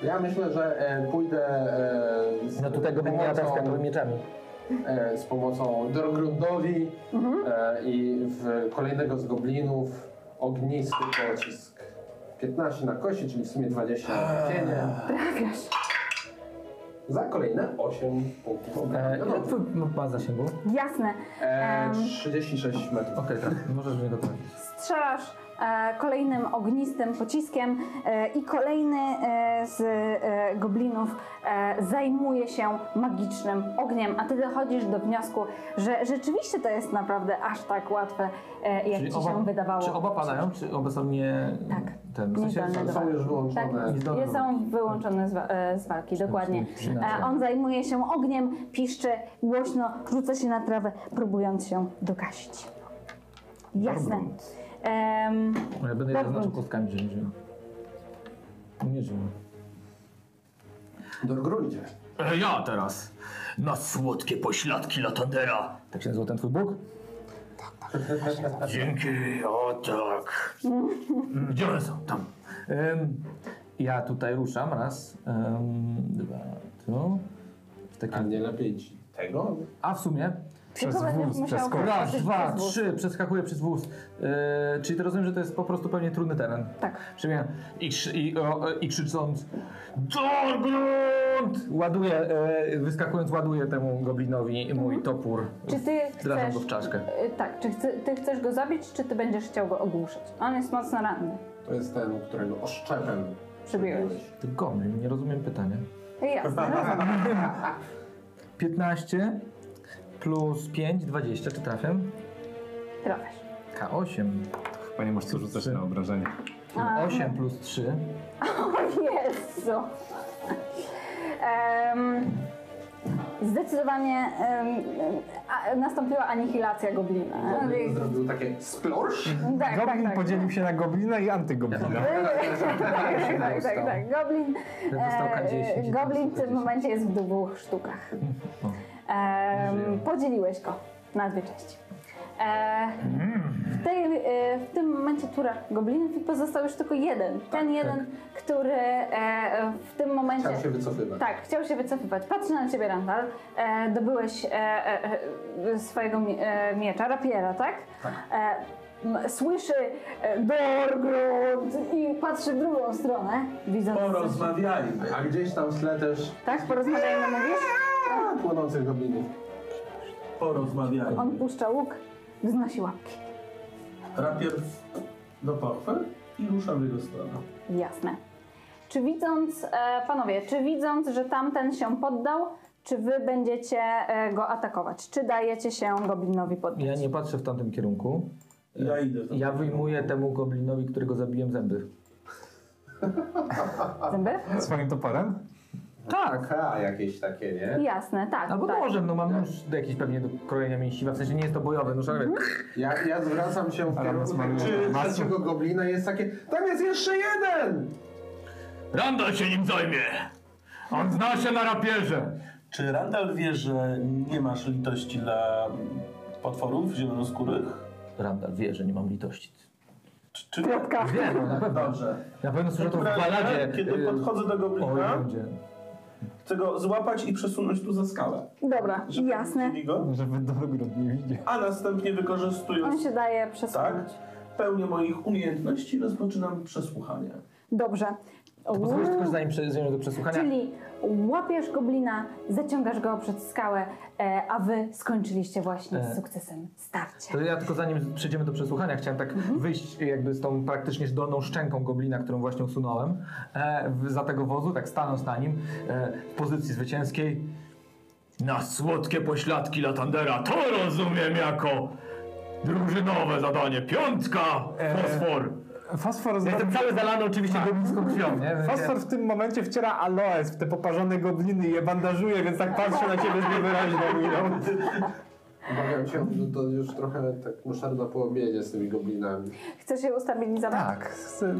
[SPEAKER 7] ja myślę, że e, pójdę e, z
[SPEAKER 5] No tu tego bym miała teraz katowymi mieczami.
[SPEAKER 7] e, z pomocą Dorgrundowi
[SPEAKER 2] Mhm.
[SPEAKER 7] e, i w kolejnego z goblinów ognisty pocisk. 15 na kości, czyli w sumie 20 na trafienie.
[SPEAKER 2] Trafiasz.
[SPEAKER 7] Za kolejne 8 punktów
[SPEAKER 5] E,
[SPEAKER 7] obrażeń. No
[SPEAKER 5] ile twój ma zasięgu?
[SPEAKER 2] Jasne.
[SPEAKER 7] E,
[SPEAKER 2] Em.
[SPEAKER 7] 36 metrów.
[SPEAKER 5] Okej, tak, możesz w niego trafić.
[SPEAKER 2] Strzelasz e, kolejnym ognistym pociskiem e, i kolejny e, z e, goblinów e, zajmuje się magicznym ogniem, a ty dochodzisz do wniosku, że rzeczywiście to jest naprawdę aż tak łatwe, e, jak ci się wydawało.
[SPEAKER 5] Czy oba padają, czy oba są nie...
[SPEAKER 2] Tak.
[SPEAKER 5] Ten, w
[SPEAKER 2] Niezdolne
[SPEAKER 5] są-
[SPEAKER 2] do
[SPEAKER 7] Są
[SPEAKER 5] są-
[SPEAKER 7] już
[SPEAKER 2] Tak,
[SPEAKER 7] wyłączone.
[SPEAKER 5] Niezdolne
[SPEAKER 2] je
[SPEAKER 5] do
[SPEAKER 2] są wyłączone z, wa- e, z walki, dokładnie. E, on zajmuje się ogniem, piszczy głośno, rzuca się na trawę, próbując się dogasić. Jasne. Em,
[SPEAKER 5] Ja będę
[SPEAKER 2] Tak,
[SPEAKER 5] je zaznaczał
[SPEAKER 2] bądź.
[SPEAKER 5] kostkami, że nie żyją. Nie żyją.
[SPEAKER 7] Dorgrundzie.
[SPEAKER 8] E, Ja teraz. Na słodkie pośladki Latandera.
[SPEAKER 5] Tak się nazywa ten twój bóg? Tak.
[SPEAKER 8] Dzięki, o tak. Gdzie one są? Tam.
[SPEAKER 5] Ym, ja tutaj ruszam, raz, ym, dwa, tu. W
[SPEAKER 7] A
[SPEAKER 5] takim...
[SPEAKER 7] nie lepiej ci tego?
[SPEAKER 5] A w sumie
[SPEAKER 2] Przez wóz, przez
[SPEAKER 5] Raz, dwa, trzy, przeskakuję przez wóz. Yy, czyli to rozumiem, że to jest po prostu pewnie trudny teren.
[SPEAKER 2] Tak.
[SPEAKER 5] Przyjmę i, krzy, i, o, e, i krzycząc Dorgrund! Ładuję, e, wyskakując ładuję temu goblinowi mój topór.
[SPEAKER 2] Mhm. Czy ty
[SPEAKER 5] Wdrażam
[SPEAKER 2] chcesz...
[SPEAKER 5] go w czaszkę.
[SPEAKER 2] e, Tak, czy chce, ty chcesz go zabić, czy ty będziesz chciał go ogłuszyć? On jest mocno ranny.
[SPEAKER 7] To jest ten, którego oszczepem
[SPEAKER 2] Przybiłeś.
[SPEAKER 5] Ty goblin, nie rozumiem pytania.
[SPEAKER 2] Jasne, rozumiem.
[SPEAKER 5] 15 plus 5, 20, czy trafiam?
[SPEAKER 2] Trafiasz.
[SPEAKER 5] K8.
[SPEAKER 6] Chyba nie masz co rzucać na obrażenie.
[SPEAKER 5] 8 plus 3.
[SPEAKER 2] Jezu. Em, zdecydowanie em, a, nastąpiła anihilacja goblina.
[SPEAKER 7] Goblin zrobił takie splorsz.
[SPEAKER 2] Tak, tak,
[SPEAKER 6] Goblin
[SPEAKER 2] tak.
[SPEAKER 6] podzielił się na goblina i antygoblina.
[SPEAKER 2] tak, tak, tak, tak. Goblin,
[SPEAKER 5] Dostał K10
[SPEAKER 2] e,
[SPEAKER 5] i
[SPEAKER 2] goblin w tym
[SPEAKER 5] 10.
[SPEAKER 2] momencie jest w dwóch sztukach. Em,
[SPEAKER 5] Żyje.
[SPEAKER 2] podzieliłeś go na dwie części. E, w, tej, e, w tym momencie tura goblinów i pozostał już tylko jeden. Ten jeden, który e, w tym momencie...
[SPEAKER 7] Chciał się wycofywać.
[SPEAKER 2] Tak, chciał się wycofywać. Patrzy na ciebie, Randall. E, dobyłeś e, e, e, swojego mi- e, miecza, rapiera, tak? E, m, słyszy e, Dorgrund i patrzy w drugą stronę, widząc...
[SPEAKER 4] Porozmawiajmy.
[SPEAKER 7] A gdzieś tam w tle też
[SPEAKER 2] Tak, porozmawiajmy, mówisz?
[SPEAKER 7] a, płonących goblinów.
[SPEAKER 4] Porozmawiajmy.
[SPEAKER 2] On puszcza łuk, wznosi łapki.
[SPEAKER 4] Rapier do pochwy i ruszam w jego stronę.
[SPEAKER 2] Jasne. Czy widząc, e, panowie, czy widząc, że tamten się poddał, czy wy będziecie e, go atakować? Czy dajecie się goblinowi poddać?
[SPEAKER 5] Ja nie patrzę w tamtym kierunku.
[SPEAKER 4] Ja idę. w ten-
[SPEAKER 5] Ja wyjmuję temu goblinowi, którego zabiłem zęby.
[SPEAKER 2] Zęby?
[SPEAKER 6] Swoim toporem?
[SPEAKER 5] Tak!
[SPEAKER 7] K jakieś takie, nie?
[SPEAKER 2] Jasne, tak.
[SPEAKER 5] Albo
[SPEAKER 2] tak.
[SPEAKER 5] nożem, no mam nóż jakiś pewnie do krojenia mięsiwa, w sensie nie jest to no bojowy nóż, ale
[SPEAKER 2] Mhm.
[SPEAKER 7] Ja, ja zwracam się w
[SPEAKER 6] Ale
[SPEAKER 7] kierunku
[SPEAKER 6] masz-
[SPEAKER 7] czy
[SPEAKER 6] masz-
[SPEAKER 7] trzeciego goblina jest takie tam jest jeszcze jeden!
[SPEAKER 8] Randall się nim zajmie. On zna się na rapierze.
[SPEAKER 4] Czy Randall wie, że nie masz litości dla potworów zielonoskórych?
[SPEAKER 5] Randall wie, że nie mam litości.
[SPEAKER 4] Czy, czy...
[SPEAKER 2] Kwiatka.
[SPEAKER 5] Wiem, no, na pewno.
[SPEAKER 4] Dobrze.
[SPEAKER 5] Na pewno słyszę No to w baladzie.
[SPEAKER 4] Kiedy
[SPEAKER 5] e,
[SPEAKER 4] podchodzę do
[SPEAKER 5] o
[SPEAKER 8] tak?
[SPEAKER 4] goblina,
[SPEAKER 5] ludzie.
[SPEAKER 4] chcę go złapać i przesunąć tu za skałę.
[SPEAKER 2] Dobra,
[SPEAKER 4] żeby
[SPEAKER 2] jasne.
[SPEAKER 4] widzieli Go,
[SPEAKER 3] Żeby Dolgrud nie widział.
[SPEAKER 4] a następnie
[SPEAKER 2] On
[SPEAKER 4] wykorzystując tak,
[SPEAKER 2] się daje przesunąć.
[SPEAKER 3] Tak?
[SPEAKER 4] pełnię moich umiejętności, rozpoczynam przesłuchanie.
[SPEAKER 2] Dobrze.
[SPEAKER 5] To pozwolisz tylko,
[SPEAKER 2] Uuu.
[SPEAKER 5] że zanim przejdziemy do przesłuchania.
[SPEAKER 2] Czyli łapiesz goblina, zaciągasz go przed skałę, e, a wy skończyliście właśnie
[SPEAKER 5] E.
[SPEAKER 2] z sukcesem starcia.
[SPEAKER 5] To ja tylko zanim przejdziemy do przesłuchania, chciałem tak wyjść jakby z tą praktycznie dolną szczęką goblina, którą właśnie usunąłem e, w, za tego wozu, tak stanąc na nim e, w pozycji zwycięskiej.
[SPEAKER 10] Na słodkie pośladki Latandera to rozumiem jako drużynowe zadanie. Piątka, fosfor.
[SPEAKER 3] Fosfor,
[SPEAKER 5] E, Ja jestem
[SPEAKER 3] zrobi...
[SPEAKER 5] cały zalany oczywiście goblinską krwią, nie? Więc
[SPEAKER 3] Fosfor w tym momencie wciera aloes w te poparzone gobliny i je bandażuje, więc tak patrzę na ciebie z niewyraźną miną.
[SPEAKER 7] Obawiam się, że to już trochę tak muszarda po obiedzie z tymi goblinami.
[SPEAKER 2] Chcesz się ustabilizować?
[SPEAKER 3] Tak, chcę...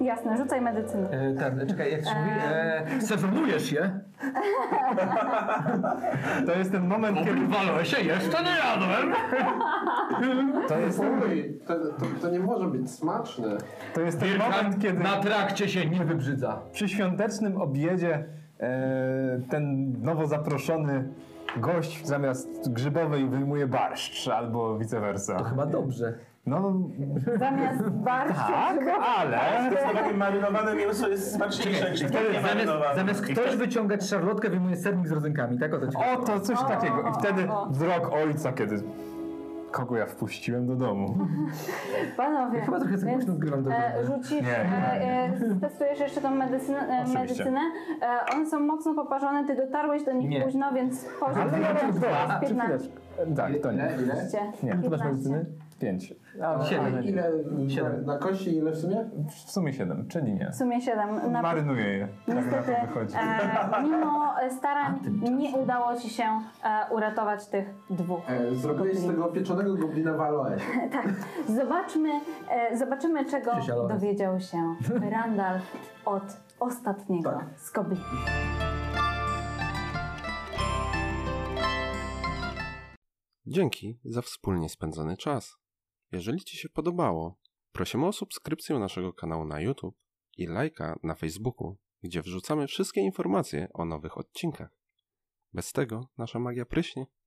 [SPEAKER 2] Jasne, rzucaj medycynę.
[SPEAKER 5] E, ten, czekaj, jak to się mówi? E, sezonujesz je?
[SPEAKER 3] to jest ten moment, kiedy...
[SPEAKER 10] Obrywałem się, jeszcze nie jadłem.
[SPEAKER 3] To jest,
[SPEAKER 7] Fuj, to, to, to nie może być smaczne.
[SPEAKER 3] to jest ten moment, kiedy...
[SPEAKER 5] Na trakcie się nie wybrzydza.
[SPEAKER 3] Przy świątecznym obiedzie e, ten nowo zaproszony gość zamiast grzybowej wyjmuje barszcz albo vice versa.
[SPEAKER 5] Chyba dobrze.
[SPEAKER 3] No
[SPEAKER 2] Zamiast barszczu
[SPEAKER 3] tak,
[SPEAKER 2] grzyba-
[SPEAKER 3] ale
[SPEAKER 4] To takie marynowane mięso jest smaczniejsze niż takie
[SPEAKER 5] Zamiast,
[SPEAKER 4] marynowane.
[SPEAKER 5] zamiast ktoś wyciągać szarlotkę, wyjmuje sernik z rodzynkami, tak? O to ci chodzi.
[SPEAKER 3] oto coś takiego. I wtedy
[SPEAKER 2] o.
[SPEAKER 3] wzrok ojca, kiedy kogo ja wpuściłem do domu.
[SPEAKER 2] Panowie,
[SPEAKER 5] Chyba trochę za
[SPEAKER 2] więc,
[SPEAKER 5] głośno zgrywam do
[SPEAKER 2] e,
[SPEAKER 5] goblina.
[SPEAKER 2] rzucisz,
[SPEAKER 3] Nie, nie,
[SPEAKER 2] e, e, testujesz jeszcze tą medycynę. E,
[SPEAKER 3] Oczywiście.
[SPEAKER 2] medycynę. E, one są mocno poparzone, ty dotarłeś do nich
[SPEAKER 5] Nie.
[SPEAKER 2] późno, więc poziom
[SPEAKER 3] Ale ja mam dwa. Czy
[SPEAKER 2] 15.
[SPEAKER 3] chwileczkę? Tak, to nie.
[SPEAKER 7] Ile? ile?
[SPEAKER 3] Nie, ty masz
[SPEAKER 2] 15.
[SPEAKER 3] medycyny? Pięć.
[SPEAKER 5] A,
[SPEAKER 7] A
[SPEAKER 5] Siedem.
[SPEAKER 7] ile
[SPEAKER 5] Siedem.
[SPEAKER 7] Na, na kości ile w sumie?
[SPEAKER 3] W sumie siedem, czyli nie.
[SPEAKER 2] W sumie 7. Na
[SPEAKER 3] Marynuję je. Tak na
[SPEAKER 2] No Niestety,
[SPEAKER 3] to wychodzi.
[SPEAKER 2] e, mimo e, starań nie udało ci się e, uratować tych dwóch.
[SPEAKER 7] E, zrobiłeś z tego pieczonego goblina w aloe.
[SPEAKER 2] Tak, zobaczmy, e, zobaczymy czego
[SPEAKER 5] Cześć, Alois.
[SPEAKER 2] dowiedział się Randall od ostatniego z kobiet.
[SPEAKER 1] Dzięki za wspólnie spędzony czas. Jeżeli Ci się podobało, prosimy o subskrypcję naszego kanału na YouTube i lajka na Facebooku, gdzie wrzucamy wszystkie informacje o nowych odcinkach. Bez tego nasza magia pryśnie.